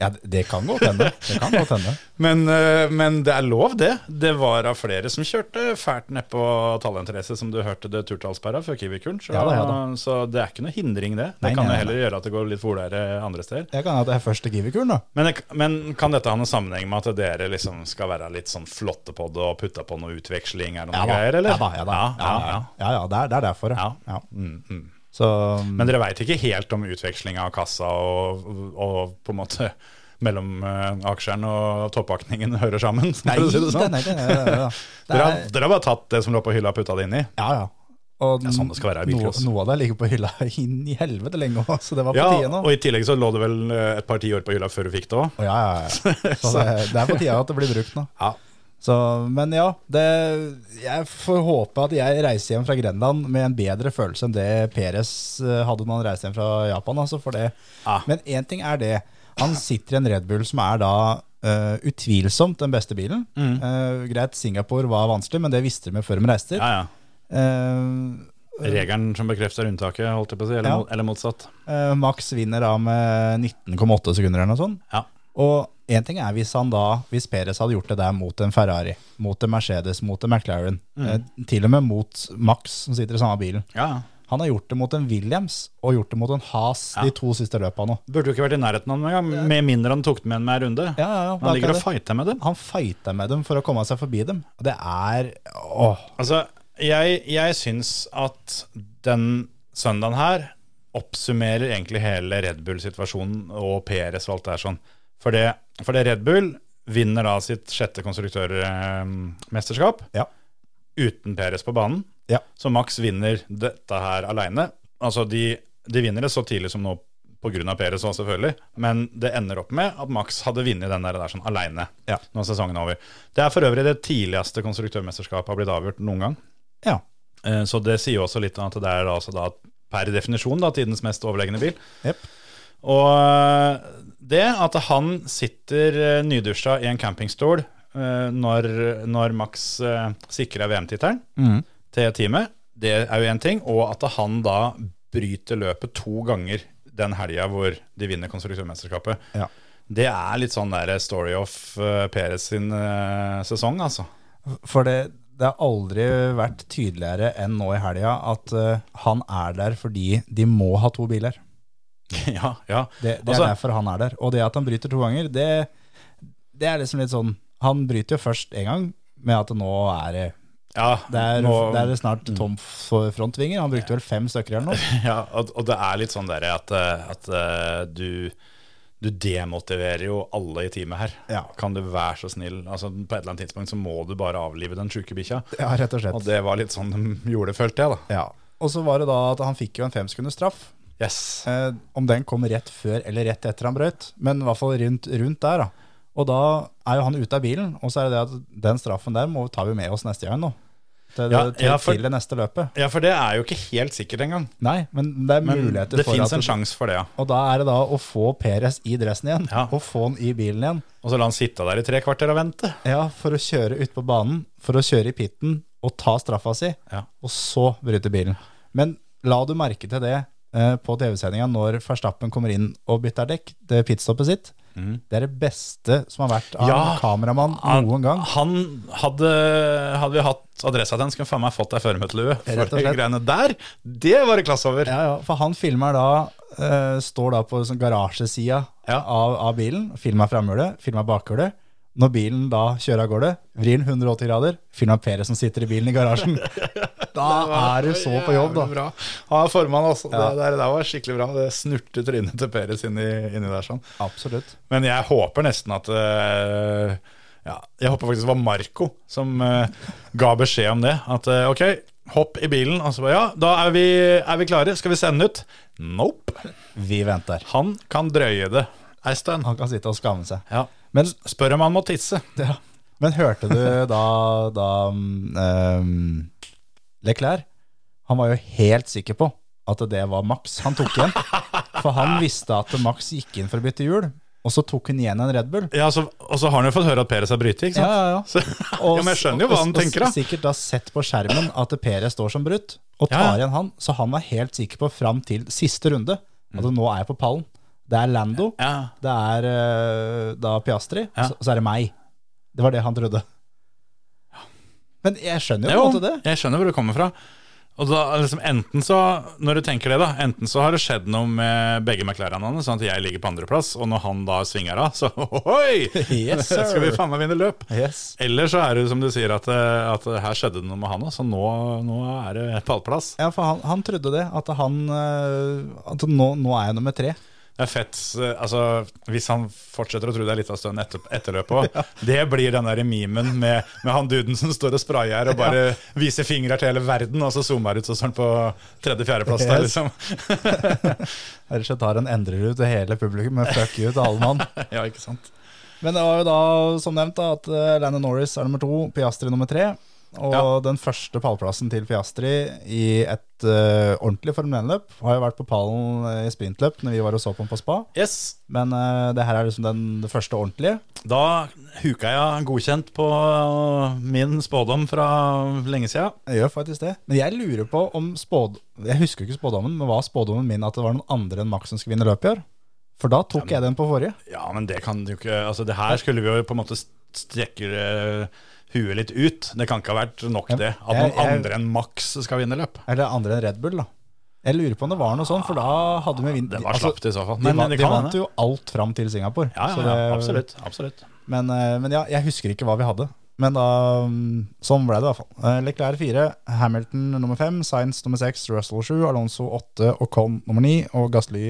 Speaker 3: Ja, det- det kan godt hende. Det kan godt hende.
Speaker 6: Men, eh, men det er lov, det. Det var av flere som kjørte fælt nedpå tallinteresse, som du hørte det turtallsperra før Kiwi-kuren. Så,
Speaker 3: Ja da, ja
Speaker 6: så det er ikke noe hindring, det. Det
Speaker 3: Nei, nei,
Speaker 6: kan jo
Speaker 3: nei,
Speaker 6: heller gjøre at det går litt fortere andre steder.
Speaker 3: Jeg kan ha det er første Kiwi-kulen, da.
Speaker 6: Men, det- men kan dette ha noen sammenheng med at dere liksom skal være litt sånn flotte på det og putte på noe utveksling eller noe
Speaker 3: da.
Speaker 6: greier, eller?
Speaker 3: Ja da, ja da.
Speaker 6: Ja, ja, ja.
Speaker 3: ja, ja, det, er, det er derfor, ja.
Speaker 6: Ja.
Speaker 3: ja. Så
Speaker 6: Mm, Men dere veit ikke helt om utveksling av kassa og, og på en måte mellom eh, aksjeren og toppakningen hører sammen? for
Speaker 3: Nei,
Speaker 6: å si det sånn.
Speaker 3: nei, nei, nei, nei, nei, nei. Det
Speaker 6: Dere,
Speaker 3: er,
Speaker 6: har, dere har bare tatt det som lå på hylla og putta det inn i?
Speaker 3: ja, ja. Og
Speaker 6: er sånn det skal være i
Speaker 3: noe,
Speaker 6: bilcross.
Speaker 3: noe av det ligger på hylla inn i helvete lenge òg, så det var på
Speaker 6: Ja,
Speaker 3: tide nå.
Speaker 6: og i tillegg så lå det vel eh, et par tiår på hylla før du fikk det òg.
Speaker 3: Å, ja, ja, ja. Så det, det er på tide at det blir brukt nå.
Speaker 6: Ja.
Speaker 3: Så, men ja, det, jeg får håpe at jeg reiser hjem fra Grenland med en bedre følelse enn det Peres eh, hadde når han reiste hjem fra Japan. Altså, for det.
Speaker 6: Ja.
Speaker 3: Men én ting er det. Han sitter i en Red Bull som er da eh, utvilsomt den beste bilen.
Speaker 6: Mm.
Speaker 3: Eh, greit, Singapore var vanskelig, men det visste de jo før de reiste.
Speaker 6: Ja, ja.
Speaker 3: Eh,
Speaker 6: Regelen som bekrefter unntaket, holdt jeg på å si. Eller,
Speaker 3: Ja.
Speaker 6: mo- eller motsatt.
Speaker 3: Eh, Max vinner da med 19,8 sekunder eller noe sånt.
Speaker 6: Ja.
Speaker 3: Og en ting er hvis han da, hvis Peres hadde gjort det der mot en Ferrari, mot en Mercedes, mot en McLaren,
Speaker 6: Mm.
Speaker 3: eh, til og med mot Max som sitter i samme bilen.
Speaker 6: Ja, ja.
Speaker 3: Han har gjort det mot en Williams og gjort det mot en Haas
Speaker 6: Ja.
Speaker 3: de to siste løpa nå.
Speaker 6: Burde jo ikke vært i nærheten av den engang, med mindre han tok den med en med en runde.
Speaker 3: Ja, ja, ja, det er
Speaker 6: han ligger
Speaker 3: akkurat
Speaker 6: og fighter med dem.
Speaker 3: Han fighter med dem for å komme seg forbi dem. Og Det er åh,
Speaker 6: Altså, jeg, jeg syns at den søndagen her oppsummerer egentlig hele Red Bull-situasjonen og PRS og alt det her sånn. For det, for det Red Bull vinner da sitt sjette konstruktørmesterskap
Speaker 3: Ja.
Speaker 6: uten PRS på banen.
Speaker 3: Ja.
Speaker 6: Så Max vinner dette her aleine. Altså, de, de vinner det så tidlig som nå pga. Perez òg, selvfølgelig. Men det ender opp med at Max hadde vunnet den der, der sånn aleine
Speaker 3: Ja.
Speaker 6: når sesongen er over. Det er for øvrig det tidligste konstruktørmesterskapet har blitt avgjort noen gang.
Speaker 3: Ja.
Speaker 6: Eh, Så det sier jo også litt om at det er da, altså da per definisjon da, tidens mest overlegne bil.
Speaker 3: Jepp.
Speaker 6: Og eh, det at han sitter eh, nydusja i en campingstol eh, når, når Max eh, sikrer VM-tittelen
Speaker 3: Mhm.
Speaker 6: til teamet, det er jo én ting. Og at han da bryter løpet to ganger den helga hvor de vinner konstruktørmesterskapet.
Speaker 3: Ja.
Speaker 6: Det er litt sånn der story of eh, Perez sin eh, sesong, altså.
Speaker 3: For det, det har aldri vært tydeligere enn nå i helga at eh, han er der fordi de må ha to biler.
Speaker 6: ja, ja.
Speaker 3: Det, det
Speaker 6: Altså-
Speaker 3: er derfor han er der. Og det at han bryter to ganger, det, det er liksom litt sånn Han bryter jo først én gang med at nå er det
Speaker 6: ja
Speaker 3: det er,
Speaker 6: nå- Mm.
Speaker 3: det er snart tom for frontvinger. Han brukte vel fem stykker eller noe.
Speaker 6: Ja, og, og det er litt sånn der at, eh, at eh, du, du demotiverer jo alle i teamet her.
Speaker 3: Ja.
Speaker 6: Kan du være så snill? Altså, på et eller annet tidspunkt så må du bare avlive den sjuke bikkja.
Speaker 3: Ja, rett og
Speaker 6: Og
Speaker 3: slett.
Speaker 6: det var litt sånn de gjorde det, følte jeg, da.
Speaker 3: Ja. Og så var det da at han fikk jo en femsekunders straff.
Speaker 6: Yes.
Speaker 3: Eh, om den kom rett før eller rett etter han brøyt, men i hvert fall rundt, rundt der. da. Og da er jo han ute av bilen, og så er det det at den straffen der må, tar vi med oss neste gang nå. Til,
Speaker 6: Ja,
Speaker 3: til,
Speaker 6: ja, for-
Speaker 3: til det neste løpet.
Speaker 6: Ja, for det er jo ikke helt sikkert engang.
Speaker 3: Nei, men det er
Speaker 6: Men
Speaker 3: muligheter
Speaker 6: det
Speaker 3: for
Speaker 6: fins
Speaker 3: at
Speaker 6: en sjanse for det, ja.
Speaker 3: Og da er det da å få Peres i dressen igjen,
Speaker 6: Ja.
Speaker 3: og få han i bilen igjen.
Speaker 6: Og så la han sitte der i tre kvarter og vente.
Speaker 3: Ja, for å kjøre ut på banen, for å kjøre i pitten og ta straffa si,
Speaker 6: Ja.
Speaker 3: og så bryte bilen. Men la du merke til det eh, på TV-sendinga når Verstappen kommer inn og bytter dekk til pitstoppet sitt. Det er det beste som har vært av
Speaker 6: Mm. Ja.
Speaker 3: kameramann noen gang.
Speaker 6: Han hadde, hadde vi hatt adressa til han, skulle han faen meg fått ei føremøtelue.
Speaker 3: Rett og
Speaker 6: For de
Speaker 3: slett.
Speaker 6: greiene der, det var det klasse over.
Speaker 3: Ja, ja, for han filmer da eh, Står da på sånn garasjesida
Speaker 6: Ja.
Speaker 3: av, av bilen Filmer framhjulet, filmer bakhjulet Når bilen da kjører av gårde Vrir den 180 grader, filmer Pere som sitter i bilen i garasjen Da er du så på jobb da
Speaker 6: Bra. Han er formann, altså. Det, det, der var skikkelig bra. Det snurte trynet til Peres inni, inni der sånn.
Speaker 3: Absolutt
Speaker 6: Men jeg håper nesten at eh, ja, Jeg håper faktisk det var Marco som eh, ga beskjed om det. At eh, ok, hopp i bilen. Og så bare ja, da er vi, er vi klare. Skal vi sende ut? Nope.
Speaker 3: Vi venter
Speaker 6: Han kan drøye det. Eistein.
Speaker 3: Han kan sitte og skamme seg
Speaker 6: Ja.
Speaker 3: Men,
Speaker 6: Spør om han må tisse.
Speaker 3: ja. Men hørte du da, da um, Leclerc Han var jo helt sikker på at det var Max han tok igjen. For han visste at Max gikk inn for å bytte hjul, og så tok hun igjen en Red Bull.
Speaker 6: Ja, så, og så har han jo fått høre at Peres er bryter, ikke
Speaker 3: Ja,
Speaker 6: sant?
Speaker 3: ja, ja.
Speaker 6: Så,
Speaker 3: Og-
Speaker 6: ja, men jeg skjønner jo hva
Speaker 3: og-
Speaker 6: han
Speaker 3: og
Speaker 6: tenker, da.
Speaker 3: Sikkert da sett på skjermen at Pere står som brutt, og tar
Speaker 6: Ja, ja.
Speaker 3: igjen han. Så han var helt sikker på fram til siste runde at nå er jeg på pallen. Det er Lando,
Speaker 6: Mm. Ja.
Speaker 3: det er eh, da Piastri,
Speaker 6: Ja.
Speaker 3: så, så er det meg. Det var det han trodde. Men jeg skjønner jo på
Speaker 6: Jo,
Speaker 3: en måte det.
Speaker 6: jeg skjønner hvor det kommer fra. Og da, liksom, enten så, når du tenker det da, enten så har det skjedd noe med begge McLaren-ene, sånn at jeg ligger på andreplass, og når han da svinger av, så ohoi!
Speaker 3: Yes, sir.
Speaker 6: skal vi faen meg vinne løp.
Speaker 3: Yes.
Speaker 6: Eller så er det som du sier, at, eh, at her skjedde det noe med han òg, så nå, nå er det pallplass.
Speaker 3: Ja, for han, han trodde det, at han eh, At nå, nå er jeg nummer tre.
Speaker 6: Det er fett. eh, Altså, hvis han fortsetter å tro det er litt av stønn etter, etterløpet òg, det blir den der memen med, med han duden som står og sprayer og bare viser fingrer til hele verden, og så zoomer ut, så står han på tredje-fjerdeplass der,
Speaker 3: Yes.
Speaker 6: liksom.
Speaker 3: Ellers så tar han endrer ut til hele publikum, men fuck you til alle mann.
Speaker 6: Ja, ikke sant?
Speaker 3: Men det var jo da, som nevnt, da, at eh, Landon Norris er nummer to, Piastri nummer tre. Og
Speaker 6: Ja.
Speaker 3: den første pallplassen til Piastri i et eh, ordentlig Formel 1-løp har jo vært på pallen eh, i sprintløp når vi var og så på den på spa.
Speaker 6: Yes,
Speaker 3: Men eh, det her er liksom den, det første ordentlige.
Speaker 6: da huka jeg godkjent på min spådom fra lenge sida.
Speaker 3: Jeg gjør faktisk det. Men jeg lurer på om spåd... Jeg husker jo ikke spådommen, men var spådommen min at det var noen andre enn Max som skulle vinne løpet i år? For da tok jeg den på forrige.
Speaker 6: Ja, men det kan du ikke Altså, det her skulle vi jo på en måte strekke eh, huet litt ut. Det kan ikke ha vært nok,
Speaker 3: Ja,
Speaker 6: det. At
Speaker 3: jeg-
Speaker 6: noen
Speaker 3: jeg-
Speaker 6: andre enn Max skal vinne løp.
Speaker 3: Eller andre enn Red Bull, da. Jeg lurer på om det var noe sånn, for da hadde vi vinn...
Speaker 6: Ah, Det var
Speaker 3: altså,
Speaker 6: slapt i så fall.
Speaker 3: De,
Speaker 6: Men
Speaker 3: vant-
Speaker 6: det
Speaker 3: de
Speaker 6: kan
Speaker 3: vant
Speaker 6: hende.
Speaker 3: jo alt fram til Singapore.
Speaker 6: Ja,
Speaker 3: så
Speaker 6: ja, ja,
Speaker 3: det-
Speaker 6: absolutt. absolutt.
Speaker 3: Men, eh, men ja, jeg husker ikke hva vi hadde. Men da, mm, sånn ble det i hvert fall. Eh, Leclerc 4, Hamilton nummer 5, Sainz nummer 6, Russell 7, Alonso 8, Ocon nummer 9 og Gasly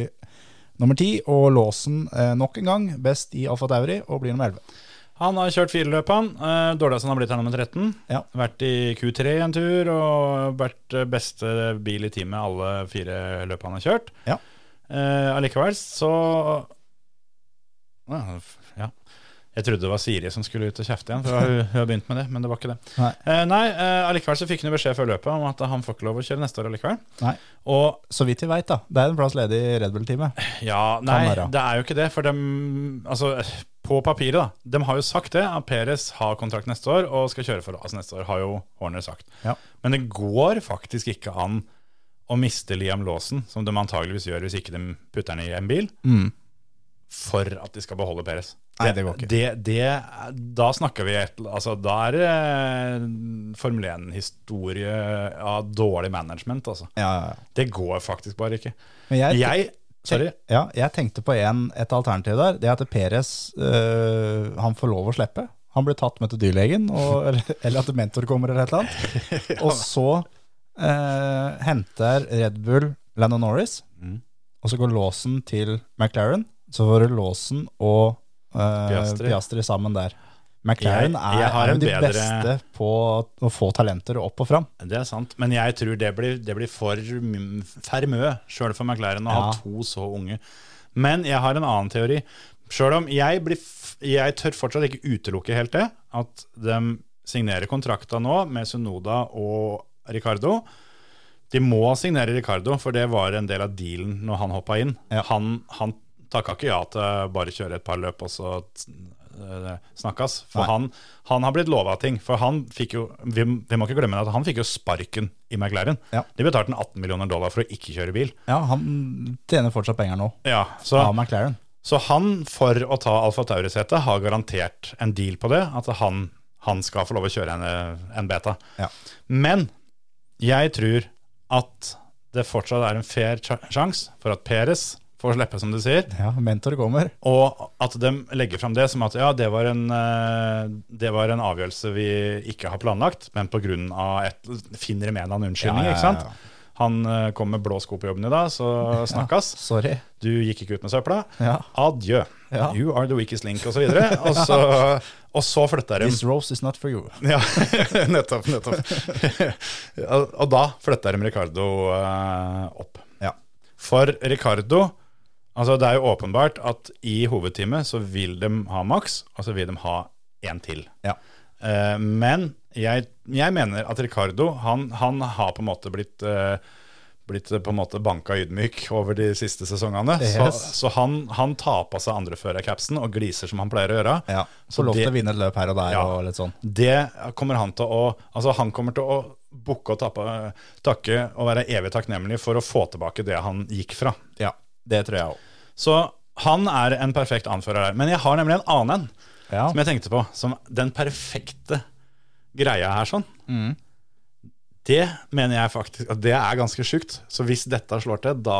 Speaker 3: nummer 10. Og Lawson eh, nok en gang best i Alfa Tauri og blir nummer 11.
Speaker 6: Han har kjørt fireløp, han. Eh, Dårligst han har blitt her nummer 13.
Speaker 3: Ja.
Speaker 6: Vært i Q3 en tur, og vært eh, beste bil i teamet alle fire løp han har kjørt.
Speaker 3: Ja.
Speaker 6: Eh, allikevel så Ja, f- Ja. Jeg trodde det var Siri som skulle ut og kjefte igjen, for hun, hun har begynt med det. Men det var ikke det.
Speaker 3: Nei.
Speaker 6: Eh, nei eh, allikevel så fikk han jo beskjed før løpet om at han får ikke lov å kjøre neste år allikevel.
Speaker 3: Nei.
Speaker 6: Og
Speaker 3: Så vidt vi veit, da. Det er en plass ledig i Red Bull-teamet.
Speaker 6: ja, nei,
Speaker 3: være.
Speaker 6: det er jo ikke det. For dem, altså, på papiret, da. De har jo sagt det, at Perez har kontrakt neste år og skal kjøre for oss neste år, har jo Horner sagt.
Speaker 3: Ja.
Speaker 6: Men det går faktisk ikke an å miste Liam Lawson, som de antageligvis gjør hvis ikke de putter han i en bil, for at de skal beholde Perez.
Speaker 3: Mm. Nei, det går ikke.
Speaker 6: Det, det- da snakker vi et, altså, Da er det eh, Formel 1-historie av dårlig management, altså.
Speaker 3: Ja, ja, ja.
Speaker 6: Det går faktisk bare ikke.
Speaker 3: Men jeg,
Speaker 6: Jeg Sorry.
Speaker 3: Ja, jeg tenkte på en, et alternativ der. Det er at Peres øh, han får lov å slippe. Han blir tatt med til dyrlegen, og, eller, eller at mentor kommer eller et eller annet. Og så øh, henter Red Bull Landon Norris,
Speaker 6: Mm.
Speaker 3: og så går låsen til McLaren. Så får du låsen og øh,
Speaker 6: Piastri.
Speaker 3: Piastri. sammen der. McLaren
Speaker 6: Jeg-
Speaker 3: er,
Speaker 6: jeg har
Speaker 3: er jo
Speaker 6: en
Speaker 3: de
Speaker 6: bedre-
Speaker 3: beste på å få talenter opp og fram.
Speaker 6: Det er sant, men jeg tror det blir, det blir for, m- for mye sjøl for McLaren å ha
Speaker 3: Ja.
Speaker 6: to så unge. Men jeg har en annen teori. Sjøl om jeg, blir, f- jeg tør fortsatt ikke utelukke helt det, at de signerer kontrakta nå med Sunoda og Ricardo. De må signere Ricardo, for det var en del av dealen når han hoppa inn.
Speaker 3: Ja.
Speaker 6: Han, han takka ikke ja til bare å kjøre et par løp og så t- eh, snakkes. For han, han har blitt lova ting. For han fikk jo vi, vi må ikke glemme at han fikk jo sparken i McLaren.
Speaker 3: Ja.
Speaker 6: De betalte han 18 millioner dollar for å ikke kjøre bil.
Speaker 3: Ja, han tjener fortsatt penger nå.
Speaker 6: Ja, så,
Speaker 3: Av McLaren.
Speaker 6: så han, for å ta Alfa Tauri-setet, har garantert en deal på det. At han, han skal få lov å kjøre en, eh, en beta.
Speaker 3: Ja.
Speaker 6: Men jeg tror at det fortsatt er en fair sja- sjanse for at Peres får slippe, som du sier.
Speaker 3: ja, mentor kommer.
Speaker 6: Og at de legger fram det som at ja, det var en, eh, det var en avgjørelse vi ikke har planlagt, men pga. et finner med en eller annen unnskyldning.
Speaker 3: Ja, ja, ja,
Speaker 6: ikke sant?
Speaker 3: ja.
Speaker 6: Han eh, kom med blå sko på jobben i dag, så snakkes.
Speaker 3: Sorry.
Speaker 6: Du gikk ikke ut med søpla.
Speaker 3: Ja.
Speaker 6: Adjø.
Speaker 3: Ja.
Speaker 6: You are the weakest link, osv. Og, så, og så flytta de.
Speaker 3: This rose is not for you.
Speaker 6: Ja, nettopp. nettopp. og, og da flytter de Ricardo eh, opp.
Speaker 3: Ja.
Speaker 6: For Ricardo altså Det er jo åpenbart at i hovedteamet så vil de ha Max, og så vil de ha én til.
Speaker 3: Ja.
Speaker 6: Eh, men jeg, jeg mener at Ricardo han, han har på en måte blitt eh, blitt eh, på en måte banka ydmyk over de siste sesongene. Så,
Speaker 3: Yes.
Speaker 6: så han, han tar på seg andreførercapsen og gliser som han pleier å gjøre.
Speaker 3: Ja.
Speaker 6: Så
Speaker 3: Får lov
Speaker 6: det-
Speaker 3: til å vinne et løp her og der
Speaker 6: Ja.
Speaker 3: og litt sånn.
Speaker 6: det kommer han til å Altså han kommer til å bukke og tappe, takke og være evig takknemlig for å få tilbake det han gikk fra.
Speaker 3: Ja, det tror jeg òg.
Speaker 6: Så han er en perfekt anfører der. Men jeg har nemlig en annen en
Speaker 3: Ja.
Speaker 6: som jeg tenkte på, som den perfekte greia her sånn.
Speaker 3: Mm.
Speaker 6: Det mener jeg faktisk at det er ganske sjukt. Så hvis dette slår til, da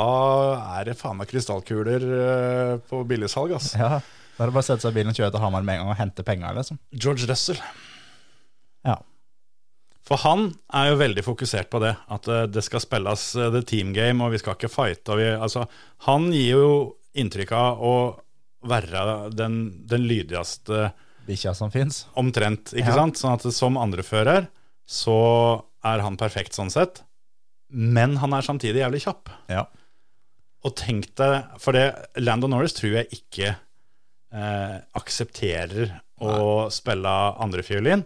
Speaker 6: er det faen meg krystallkuler eh, på billigsalg, ass.
Speaker 3: ja. Da er det bare å sette seg i bilen og kjøre til Hamar med en gang og hente penger, liksom.
Speaker 6: George Russell.
Speaker 3: Ja.
Speaker 6: For han er jo veldig fokusert på det, at eh, det skal spilles eh, the team game, og vi skal ikke fighte. Og vi, altså, han gir jo inntrykk av å være den, den lydigste
Speaker 3: Bikkja som fins.
Speaker 6: omtrent, ikke
Speaker 3: Ja.
Speaker 6: sant? Sånn at som andrefører så er han perfekt sånn sett, men han er samtidig jævlig kjapp.
Speaker 3: Ja.
Speaker 6: Og tenk deg, for det, Lando Norris tror jeg ikke eh, aksepterer å spille andrefiolin,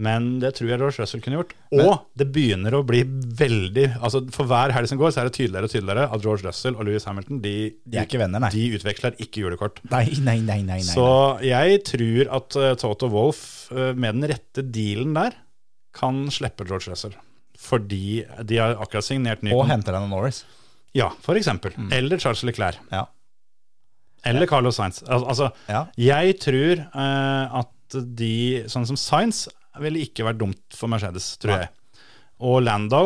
Speaker 6: men det tror jeg George Russell kunne gjort. Og det begynner å bli veldig altså For hver helg som går, så er det tydeligere og tydeligere at George Russell og Louis Hamilton de,
Speaker 3: De er ikke venner, nei.
Speaker 6: de utveksler ikke julekort.
Speaker 3: Nei, nei, nei, nei. nei.
Speaker 6: Så jeg tror at eh, Toto Wolff eh, med den rette dealen der kan slippe George Russell. Fordi de har akkurat signert ny
Speaker 3: Og
Speaker 6: kon-
Speaker 3: henter henne Mm. Norris.
Speaker 6: Ja, for eksempel. Eller Charles Leclerc.
Speaker 3: Ja.
Speaker 6: Eller Carlos Sainz. Al altså,
Speaker 3: Ja.
Speaker 6: jeg tror eh, at de, sånn som Sainz, ville ikke vært dumt for Mercedes, tror
Speaker 3: Nei.
Speaker 6: jeg. Og Lando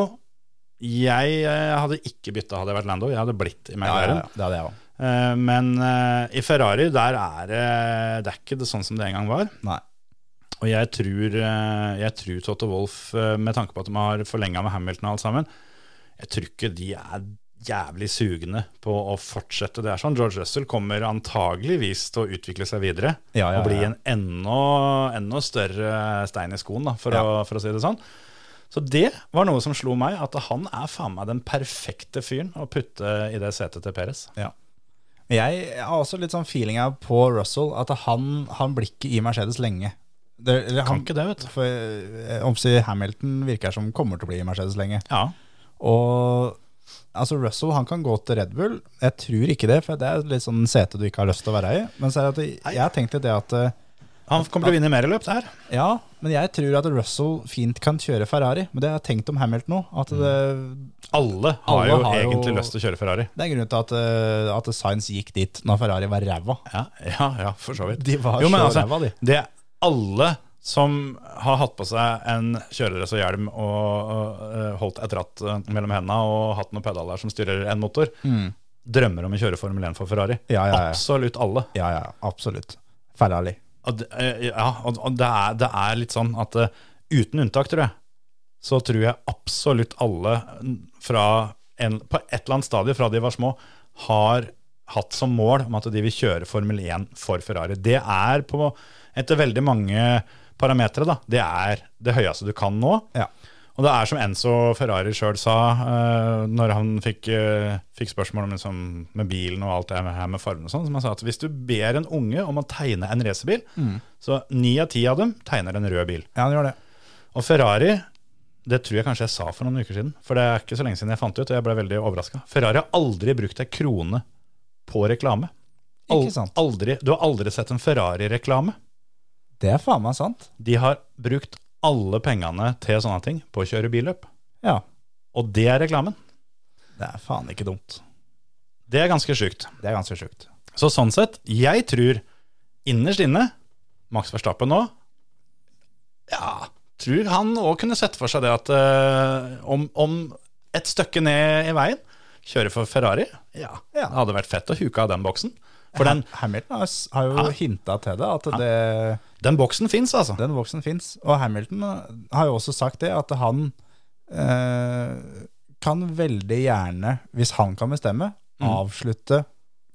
Speaker 6: Jeg eh, hadde ikke bytta hadde jeg vært Lando. Jeg hadde blitt i
Speaker 3: Ja, ja,
Speaker 6: McLaren.
Speaker 3: ja. Det hadde jeg òg.
Speaker 6: Eh, men eh, i Ferrari, der er det, det er ikke det sånn som det en gang var.
Speaker 3: Nei.
Speaker 6: Og jeg tror, eh, jeg tror Toto Wolff, eh, med tanke på at de har forlenga med Hamilton og alt sammen, jeg tror ikke de er jævlig sugne på å fortsette det er sånn. George Russell kommer antageligvis til å utvikle seg videre
Speaker 3: Ja, ja,
Speaker 6: og bli
Speaker 3: ja.
Speaker 6: en enda, enda større stein i skoen, da, for, å, for å si det sånn. Så det var noe som slo meg, at han er faen meg den perfekte fyren å putte i det setet til Perez.
Speaker 3: Ja. Men Jeg har også litt sånn feelinga på Russell at han, han blir ikke i Mercedes lenge. Det, eller
Speaker 6: Kan ikke det, vet du.
Speaker 3: For, eh, om si Hamilton virker som kommer til å bli i Mercedes lenge.
Speaker 6: Ja.
Speaker 3: Og altså Russell han kan gå til Red Bull. Jeg tror ikke det, for det er litt sånn sete du ikke har lyst til å være i. Men så er det at jeg, jeg har tenkt litt det at eh,
Speaker 6: Han kommer til å vinne mer i løp, det her.
Speaker 3: ja, men jeg tror at Russell fint kan kjøre Ferrari. Men det har jeg tenkt om Hamilton nå. At det,
Speaker 6: Alle har
Speaker 3: Alle
Speaker 6: jo
Speaker 3: har jo-
Speaker 6: egentlig lyst til å kjøre Ferrari.
Speaker 3: det er grunnen til at, eh, at Sainz gikk dit når Ferrari var ræva.
Speaker 6: Ja, ja, ja for så vidt.
Speaker 3: De var
Speaker 6: Jo, men
Speaker 3: så
Speaker 6: altså,
Speaker 3: ræva, de.
Speaker 6: Det er alle som har hatt på seg en kjøredress og hjelm og, og eh, holdt et ratt eh, mellom hendene og hatt noen pedaler som styrer en motor, drømmer om å kjøre Formel 1 for Ferrari.
Speaker 3: Mm. Ja, ja, ja.
Speaker 6: Absolutt alle.
Speaker 3: Ja, ja, absolutt. Ferrari.
Speaker 6: Og, det- eh, ja, og, og det, er, det er litt sånn at eh, uten unntak, tror jeg, så tror jeg absolutt alle mm, fra en, på et eller annet stadie fra de var små, har hatt som mål om at de vil kjøre Formel 1 for Ferrari. Det er på, etter veldig mange parametere, da, det er det høyeste du kan nå.
Speaker 3: Ja.
Speaker 6: Og det er som Enzo Ferrari sjøl sa eh, når han fikk, eh, fikk spørsmål om liksom, med bilen og alt det her med fargen og sånn, som han sa at hvis du ber en unge om å tegne en racerbil, så ni av ti av dem tegner en rød bil.
Speaker 3: Mm. Ja, han gjør det.
Speaker 6: Og Ferrari, det tror jeg kanskje jeg sa for noen uker siden, for det er ikke så lenge siden jeg fant det ut, og jeg ble veldig overraska. Ferrari har aldri brukt ei krone på reklame. Al-
Speaker 3: Ikke sant?
Speaker 6: Aldri, du har aldri sett en Ferrari-reklame.
Speaker 3: Det er faen meg sant.
Speaker 6: De har brukt alle pengene til sånne ting på å kjøre billøp.
Speaker 3: Ja.
Speaker 6: Og det er reklamen.
Speaker 3: Det er faen ikke dumt.
Speaker 6: Det er ganske sjukt.
Speaker 3: Det er ganske sjukt.
Speaker 6: Så sånn sett, jeg tror innerst inne Max Verstappen nå Ja, tror han òg kunne sett for seg det at eh, om, om et stykke ned i veien Kjøre for Ferrari? Ja. Det
Speaker 3: Ja.
Speaker 6: hadde vært fett å huke av den boksen. For den,
Speaker 3: Hamilton har, s- har jo hinta til det, at det,
Speaker 6: den boksen fins, altså.
Speaker 3: den voksen fins. Og Hamilton eh, har jo også sagt det, at han eh, kan veldig gjerne, hvis han kan bestemme, avslutte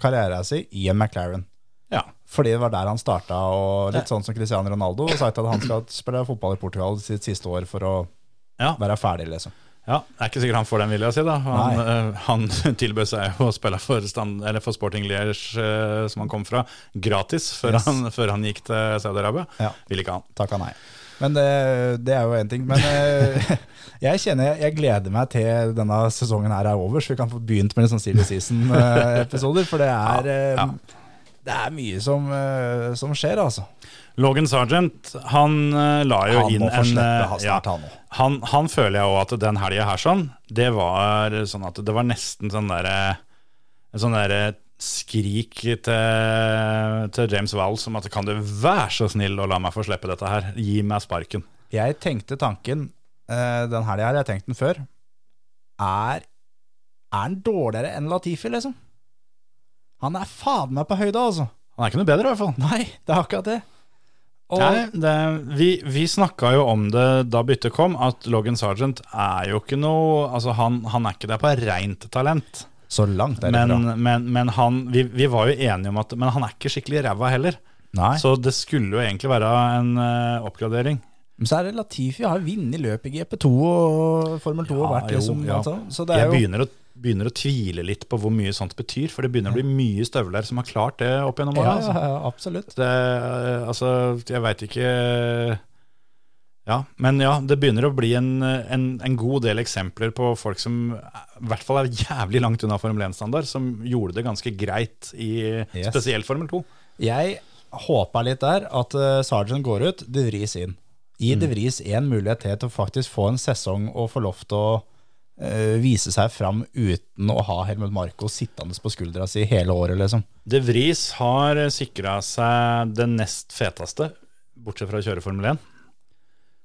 Speaker 3: karrieren sin i en McLaren.
Speaker 6: Ja.
Speaker 3: Fordi det var der han starta, og litt sånn som Cristiano Ronaldo har sagt at han skal spille fotball i Portugal sitt siste år for å
Speaker 6: Ja.
Speaker 3: være ferdig, liksom.
Speaker 6: Ja, Det er ikke sikkert han får den vilja si, da. Han, eh, han tilbød seg å spille for, stand, eller for Sporting Liège, eh, som han kom fra, gratis før,
Speaker 3: Yes.
Speaker 6: han, før han gikk til Saudi-Arabia.
Speaker 3: Ja.
Speaker 6: Ville ikke han.
Speaker 3: Takka nei. Men det, det er jo én ting. Men eh, jeg kjenner jeg, jeg gleder meg til denne sesongen her er over, så vi kan få begynt med litt sånn silly season-episoder. For det er, eh,
Speaker 6: Ja, ja.
Speaker 3: det er mye som, eh, som skjer, altså.
Speaker 6: Logan Sargent, han eh, la jo
Speaker 3: Han
Speaker 6: inn
Speaker 3: må få
Speaker 6: en
Speaker 3: slippe
Speaker 6: eh,
Speaker 3: ha snart, han òg.
Speaker 6: han, han føler jeg òg at den helga her sånn, det var sånn at det var nesten sånn derre Sånn derre skrik til, til James Wall som at kan du være så snill å la meg få slippe dette her? Gi meg sparken.
Speaker 3: Jeg tenkte tanken eh, den helga her, jeg har tenkt den før. Er Er han dårligere enn Latifi, liksom? Han er faen meg på høyde, altså.
Speaker 6: Han er ikke noe bedre, i hvert fall.
Speaker 3: Nei, det er akkurat det. Og,
Speaker 6: Nei, det, vi vi snakka jo om det da byttet kom, at Logan Sargent er jo ikke noe Altså, han, han er ikke der på reint talent.
Speaker 3: så langt er det
Speaker 6: Men,
Speaker 3: bra.
Speaker 6: men, men han vi, vi var jo enige om at Men han er ikke skikkelig ræva heller.
Speaker 3: Nei.
Speaker 6: Så det skulle jo egentlig være en eh, oppgradering.
Speaker 3: Men så er det Latifi har vunnet løpet i GP2 og Formel 2 og
Speaker 6: Ja,
Speaker 3: vært liksom
Speaker 6: jo, ja.
Speaker 3: altså. Så det
Speaker 6: Jeg
Speaker 3: er jo
Speaker 6: begynner å, begynner å tvile litt på hvor mye sånt betyr, for det begynner å bli mye støvler som har klart det opp gjennom
Speaker 3: ja,
Speaker 6: åra.
Speaker 3: ja,
Speaker 6: Altså.
Speaker 3: ja, absolutt.
Speaker 6: Det, eh, altså, jeg veit ikke Ja, men ja, det begynner å bli en, en, en god del eksempler på folk som i hvert fall er jævlig langt unna Formel 1-standard, som gjorde det ganske greit i
Speaker 3: Yes.
Speaker 6: spesielt Formel 2.
Speaker 3: Jeg håpa litt der at uh, Sargent går ut, De Vries inn. Gi De Vries en mulighet til til å faktisk få en sesong og få lov til å eh, vise seg fram uten å ha Helmut Marko sittende på skuldra si hele året, liksom.
Speaker 6: De Vries har sikra seg det nest feteste, bortsett fra å kjøre Formel 1.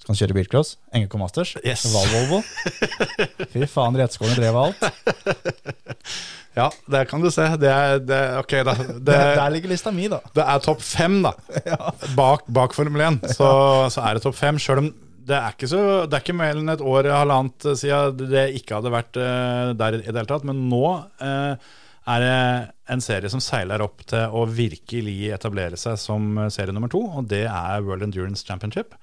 Speaker 3: Så kan han kjøre bilcross, NGK Masters,
Speaker 6: Yes.
Speaker 3: Volvo. Fy faen, Rettsgården drev alt.
Speaker 6: Ja, der kan du se. Det er, det, er- ok, da. Det,
Speaker 3: Der ligger lista mi, da.
Speaker 6: det er topp fem, da. Bak, bak Formel 1 så, så er det topp fem. Sjøl om det er ikke så Det er ikke mer enn et år halvannet eh, siden det ikke hadde vært eh, der i det hele tatt. Men nå eh, er det en serie som seiler opp til å virkelig etablere seg som eh, serie nummer to, og det er World Endurance Championship.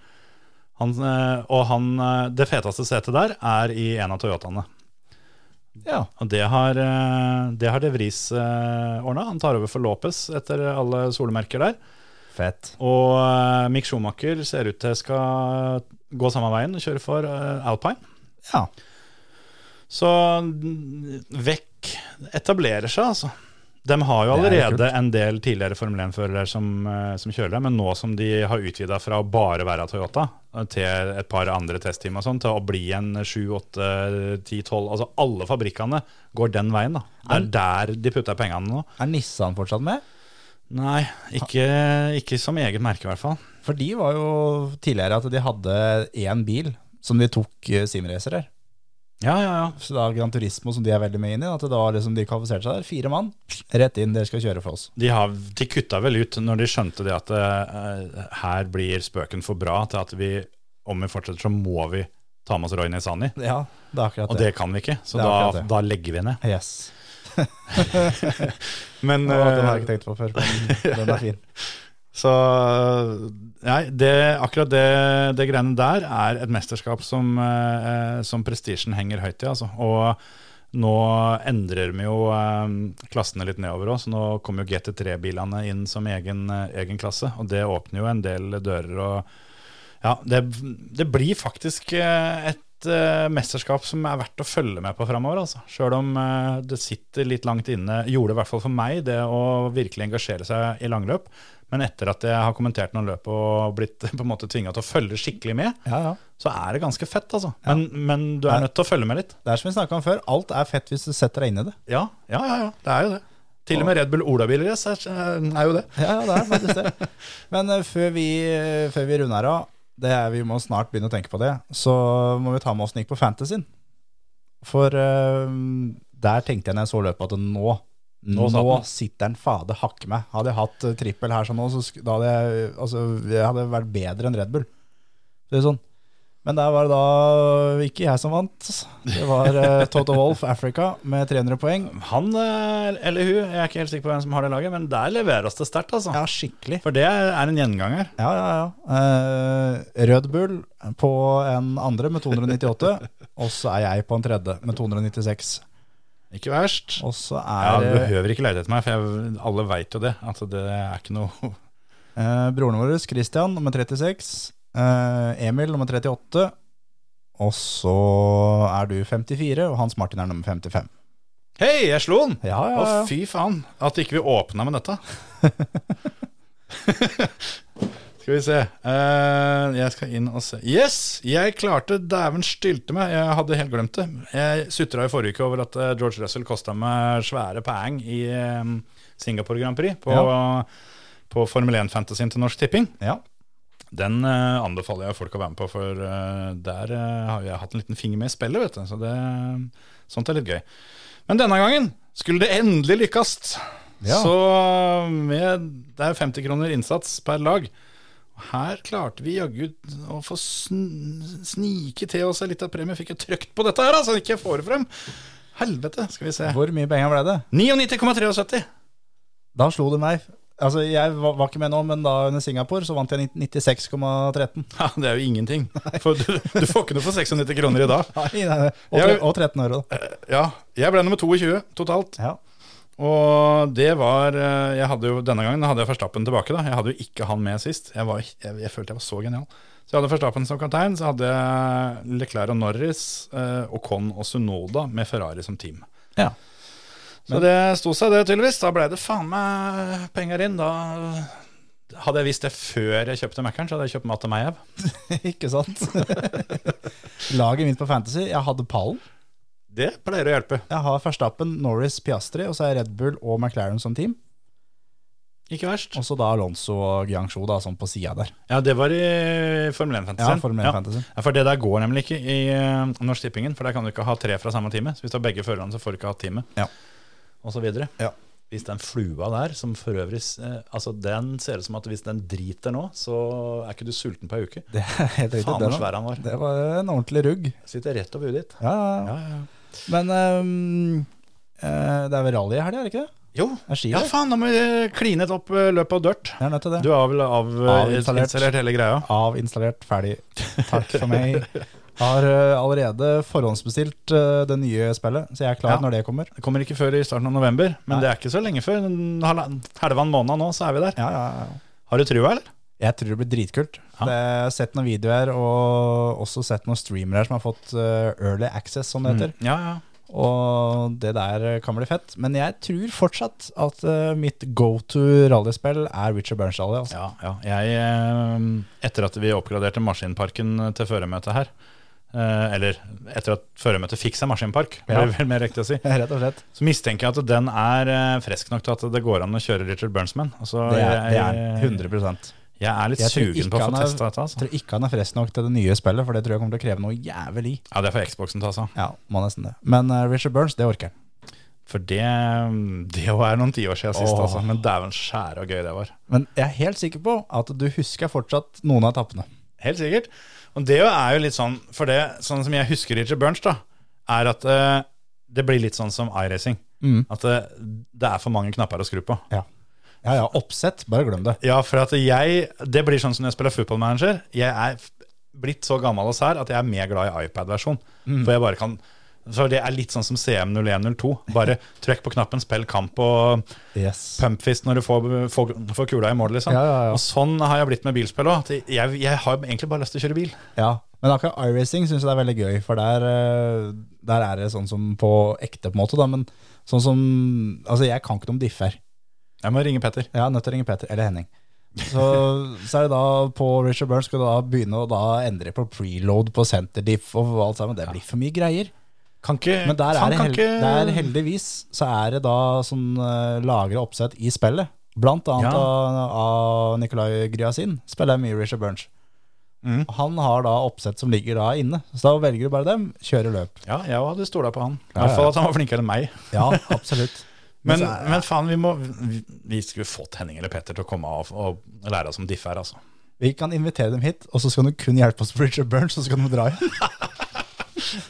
Speaker 6: Han, eh, og han, eh, det feteste setet der er i en av Toyotaene.
Speaker 3: Ja.
Speaker 6: Og det har, eh, det har De Vries ordna. Han tar over for Lopez etter alle solemerker der.
Speaker 3: Fett.
Speaker 6: Og eh, Mick Schumacher ser ut til skal gå samme veien og kjøre for eh, Alpine.
Speaker 3: Ja.
Speaker 6: Så mm, Vekk etablerer seg, altså. De har jo
Speaker 3: Det er
Speaker 6: allerede en del tidligere Formel 1-førere som, eh, som kjører der, men nå som de har utvida fra å bare være Toyota eh, til et par andre testteam og sånn, til å bli en 7, 8, 10, 12 Altså alle fabrikkene går den veien, da. Det er der de putter pengene nå.
Speaker 3: Er Nissan fortsatt med?
Speaker 6: Nei, ikke, ikke som eget merke, i hvert fall.
Speaker 3: For de var jo tidligere at de hadde én bil som de tok eh, simracere.
Speaker 6: Ja, ja, ja.
Speaker 3: Så da Gran Turismo, som de er veldig med inn i, at da liksom de kvalifiserte seg der. Fire mann, rett inn, dere skal kjøre for oss.
Speaker 6: De, har, de kutta vel ut når de skjønte det at eh, her blir spøken for bra til at vi, om vi fortsetter, så må vi ta med oss Roy Nissani.
Speaker 3: Ja, det er akkurat
Speaker 6: Og
Speaker 3: det.
Speaker 6: det kan vi ikke, så
Speaker 3: Det er akkurat
Speaker 6: da,
Speaker 3: det.
Speaker 6: da legger vi ned.
Speaker 3: Yes.
Speaker 6: Men
Speaker 3: Det var- den har
Speaker 6: eh,
Speaker 3: jeg ikke tenkt på før, men den er fin.
Speaker 6: Så eh, Nei, det, akkurat det, det greiene der er et mesterskap som, eh, som prestisjen henger høyt i. Altså. Og nå endrer vi jo eh, klassene litt nedover òg, så nå kommer jo GT3-bilene inn som egen, eh, egen klasse. Og det åpner jo en del dører og Ja, det, det blir faktisk eh, et et eh, mesterskap som er verdt å følge med på framover. Altså. Sjøl om eh, det sitter litt langt inne, gjorde det i hvert fall for meg, det å virkelig engasjere seg i langløp. Men etter at jeg har kommentert noen løp og blitt på en måte tvinga til å følge skikkelig med,
Speaker 3: Ja, ja.
Speaker 6: så er det ganske fett, altså. Men, men du er nødt til å følge med litt.
Speaker 3: Det er som vi snakka om før, alt er fett hvis du setter deg inn i det.
Speaker 6: Ja, ja, ja. ja. Det er jo det. Til og med Red Bull Olabilrace er, eh, er jo det.
Speaker 3: Ja, ja, det er faktisk det. Men eh, før vi, eh, før vi runder av, det er, vi må snart begynne å tenke på det, så må vi ta med åssen det gikk på fantasyen. For eh, der tenkte jeg når jeg så løpet at nå nå,
Speaker 6: satt den.
Speaker 3: sitter den fader hakke meg. Hadde jeg hatt eh, trippel her sånn nå, så sk- da hadde jeg, altså, jeg hadde vært bedre enn Red Bull. Det er sånn. Men der var det da ikke jeg som vant. Det var eh, Toto Wolff Africa med 300 poeng.
Speaker 6: Han eh, eller hun, jeg er ikke helt sikker på hvem som har det laget, men der leveres det sterkt, altså.
Speaker 3: Ja, skikkelig.
Speaker 6: For det er en gjenganger.
Speaker 3: Ja, ja, ja. Eh, Rød Bull på en andre med 298, og så er jeg på en tredje med 296.
Speaker 6: Ikke verst.
Speaker 3: Og så
Speaker 6: Ja,
Speaker 3: er
Speaker 6: du
Speaker 3: eh,
Speaker 6: behøver ikke leite etter meg, for jeg, alle veit jo det. At det er ikke noe
Speaker 3: eh, broren vår Christian nummer 36, eh, Emil nummer 38, og så er du 54, og Hans Martin er nummer 55.
Speaker 6: Hei, jeg slo den!
Speaker 3: Ja,
Speaker 6: Å,
Speaker 3: ja, ja.
Speaker 6: fy faen. At ikke vi åpna med dette. skal vi se. Eh, jeg skal inn og se. Yes! Jeg klarte Dæven stylte meg. Jeg hadde helt glemt det. Jeg sutra i forrige uke over at eh, George Russell kosta meg svære poeng i eh, Singapore Grand Prix på, på Formel 1-fantasyen til Norsk Tipping.
Speaker 3: Ja.
Speaker 6: Den eh, anbefaler jeg folk å være med på, for eh, der eh, har jeg hatt en liten finger med i spillet, vet du. Så det, sånt er litt gøy. Men denne gangen skulle det endelig lykkes.
Speaker 3: Ja.
Speaker 6: Så eh, med, det er 50 kroner innsats per lag. Og Her klarte vi jaggu å få sn snike til oss en liten premie. Fikk jeg trykt på dette her, altså? Ikke jeg får det frem. Helvete, skal vi se.
Speaker 3: Hvor mye penger ble det?
Speaker 6: 99,73.
Speaker 3: Da slo det meg. Altså, Jeg var var ikke med nå, men da under Singapore så vant jeg 96,13.
Speaker 6: Ja, det er jo ingenting. For du, du får ikke noe for 96 kroner i dag.
Speaker 3: Nei, nei, nei. Og tre- Og 13 euro. da.
Speaker 6: Ja, jeg ble nummer 22 totalt.
Speaker 3: Ja.
Speaker 6: Og det var eh, jeg hadde jo, Denne gangen hadde jeg Verstappen tilbake. da Jeg hadde jo ikke han med sist. Jeg, var, jeg, jeg følte jeg var så genial. Så jeg hadde Verstappen som kaptein. Så hadde jeg Leclerc og Norris, eh, Ocon og Sunoda med Ferrari som team.
Speaker 3: Ja.
Speaker 6: Så det sto seg, det, tydeligvis. Da ble det faen meg penger inn. Da hadde jeg visst det før jeg kjøpte Mac-en, så hadde jeg kjøpt mat til meg. Ev.
Speaker 3: Ikke sant? Laget mitt på Fantasy, jeg hadde pallen.
Speaker 6: Det pleier å hjelpe.
Speaker 3: Jeg har Verstappen, Norris, Piastri, og så er Red Bull og McLaren som team.
Speaker 6: Ikke verst.
Speaker 3: Og så da Alonso og Guiancho da, sånn på sida der.
Speaker 6: Ja, det var i Formel 1-fantasien.
Speaker 3: Ja, Formel 1-fantasien.
Speaker 6: Ja, for det der går nemlig ikke i eh, Norsk Tippingen, for der kan du ikke ha tre fra samme time. Så hvis du har begge førerne, så får du ikke ha teamet,
Speaker 3: Ja.
Speaker 6: og så videre.
Speaker 3: Ja.
Speaker 6: Hvis den flua der, som for øvrig eh, Altså, den ser ut som at hvis den driter nå, så er ikke du sulten på ei uke.
Speaker 3: Det er sånn. helt riktig.
Speaker 6: Faen
Speaker 3: det
Speaker 6: hvor
Speaker 3: var-
Speaker 6: svær han var.
Speaker 3: Det var en ordentlig rugg.
Speaker 6: Sitter rett over huet ditt.
Speaker 3: Ja, ja, ja.
Speaker 6: Ja, ja.
Speaker 3: Men ehm, eh, det er vel rally i helga, er det ikke det?
Speaker 6: Jo,
Speaker 3: Er ski
Speaker 6: ja
Speaker 3: der?
Speaker 6: faen, da må vi kline et opp eh, løpet av dirt.
Speaker 3: Jeg er nødt til det.
Speaker 6: Du har vel av, eh,
Speaker 3: Avinstallert.
Speaker 6: installert hele greia?
Speaker 3: Avinstallert, ferdig. Takk for meg. Har eh, allerede forhåndsbestilt eh, det nye spillet, så jeg er klar
Speaker 6: Ja.
Speaker 3: når det kommer.
Speaker 6: Det kommer ikke før i starten av november, men
Speaker 3: Nei.
Speaker 6: det er ikke så lenge før. En halvannen- Halva en måned nå, så er vi der.
Speaker 3: Ja, ja, ja.
Speaker 6: Har du trua, eller?
Speaker 3: Jeg tror det blir dritkult.
Speaker 6: Ja.
Speaker 3: Det, jeg har sett noen videoer og også sett noen streamere her som har fått eh, early access, som det heter.
Speaker 6: Mm. Ja, ja.
Speaker 3: Og det der eh, kan bli fett. Men jeg tror fortsatt at eh, mitt go to rallyspill er Richard Burns-rally. Altså.
Speaker 6: Ja, ja. Jeg, eh, etter at vi oppgraderte Maskinparken til føremøte her, eh, eller etter at føremøtet fikk seg maskinpark,
Speaker 3: Ja.
Speaker 6: blir det vel mer riktig å si,
Speaker 3: Rett og slett.
Speaker 6: så mistenker jeg at den er eh, frisk nok til at det går an å kjøre Richard Burnsman. Altså,
Speaker 3: Det er, det er
Speaker 6: jeg-
Speaker 3: 100 Jeg
Speaker 6: Jeg er litt
Speaker 3: Jeg tror ikke
Speaker 6: sugen på å
Speaker 3: han
Speaker 6: få
Speaker 3: er-
Speaker 6: testa dette. Altså.
Speaker 3: tror ikke han er frisk nok til det nye spillet, for det tror jeg kommer til å kreve noe jævlig.
Speaker 6: Ja, det får Xboxen ta altså. seg av.
Speaker 3: Ja, må nesten det. Men eh, Richard Burns, det orker han.
Speaker 6: For det mm, Det jo er noen tiår siden sist,
Speaker 3: Åh.
Speaker 6: altså. Men dæven skjære og gøy det var.
Speaker 3: Men jeg er helt sikker på at du husker fortsatt noen av etappene.
Speaker 6: Helt sikkert. Og det jo er jo litt sånn, for det, sånn som jeg husker Richard Burns, da, er at eh, det blir litt sånn som iRacing.
Speaker 3: Mm.
Speaker 6: At eh, det er for mange knapper å skru på.
Speaker 3: Ja. ja, ja, oppsett. Bare glem det.
Speaker 6: Ja, for at jeg, det blir sånn som når jeg spiller football manager. Jeg er f- blitt så gammel og sær at jeg er mer glad i iPad-versjon.
Speaker 3: Mm.
Speaker 6: For jeg bare kan, så det er litt sånn som CM0102. Bare trykk på knappen, spill kamp og
Speaker 3: Yes.
Speaker 6: pumpfist når du får, får, får kula i mål, liksom.
Speaker 3: Ja, ja, ja.
Speaker 6: Og sånn har jeg blitt med bilspill òg. Jeg, jeg har egentlig bare lyst til å kjøre bil.
Speaker 3: Ja, Men akkurat iRacing syns jeg det er veldig gøy, for der, eh, der er det sånn som på ekte, på en måte. Da, men sånn som Altså, jeg kan ikke noe om differ.
Speaker 6: Jeg må ringe Petter.
Speaker 3: Jeg er nødt til å ringe Peter, eller Henning. Så, så er det da på Richard Burns skal du da begynne å da endre på preload på senterdiff og alt sammen. Det blir for mye greier.
Speaker 6: Kan ikke
Speaker 3: Men der
Speaker 6: faen,
Speaker 3: er det
Speaker 6: kan
Speaker 3: hel,
Speaker 6: ikke-
Speaker 3: der heldigvis så er det da sånn uh, lagra oppsett i spillet. Blant annet
Speaker 6: Ja.
Speaker 3: av, av Nicolai Gryasin spiller mye Richard Burns.
Speaker 6: Mm.
Speaker 3: Han har da oppsett som ligger da inne, så da velger du bare dem, kjører løp.
Speaker 6: Ja, jeg hadde stola på han. I
Speaker 3: Ja,
Speaker 6: hvert
Speaker 3: ja.
Speaker 6: fall at han var flinkere enn meg.
Speaker 3: Ja, absolutt.
Speaker 6: Men,
Speaker 3: så er-
Speaker 6: men faen, vi må vi, vi skulle fått Henning eller Petter til å komme av og lære oss om diff her, altså.
Speaker 3: Vi kan invitere dem hit, og så skal du kun hjelpe oss på Richard Burns, og så kan du dra igjen.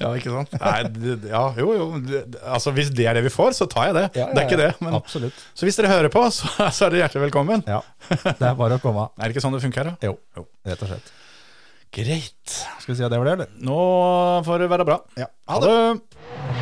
Speaker 6: Ja, ikke sant? Nei, det- ja, jo, jo. det- Altså, hvis det er det vi får, så tar jeg det. Det er ikke det. Men,
Speaker 3: Absolutt.
Speaker 6: så hvis dere hører på, så, så er dere hjertelig velkommen.
Speaker 3: Ja, det er bare å komme.
Speaker 6: Er det ikke sånn det funker her, da?
Speaker 3: Jo, rett og slett.
Speaker 6: Greit.
Speaker 3: Skal vi si at det var det, eller?
Speaker 6: Nå får det være bra.
Speaker 3: Ja.
Speaker 6: Ha det!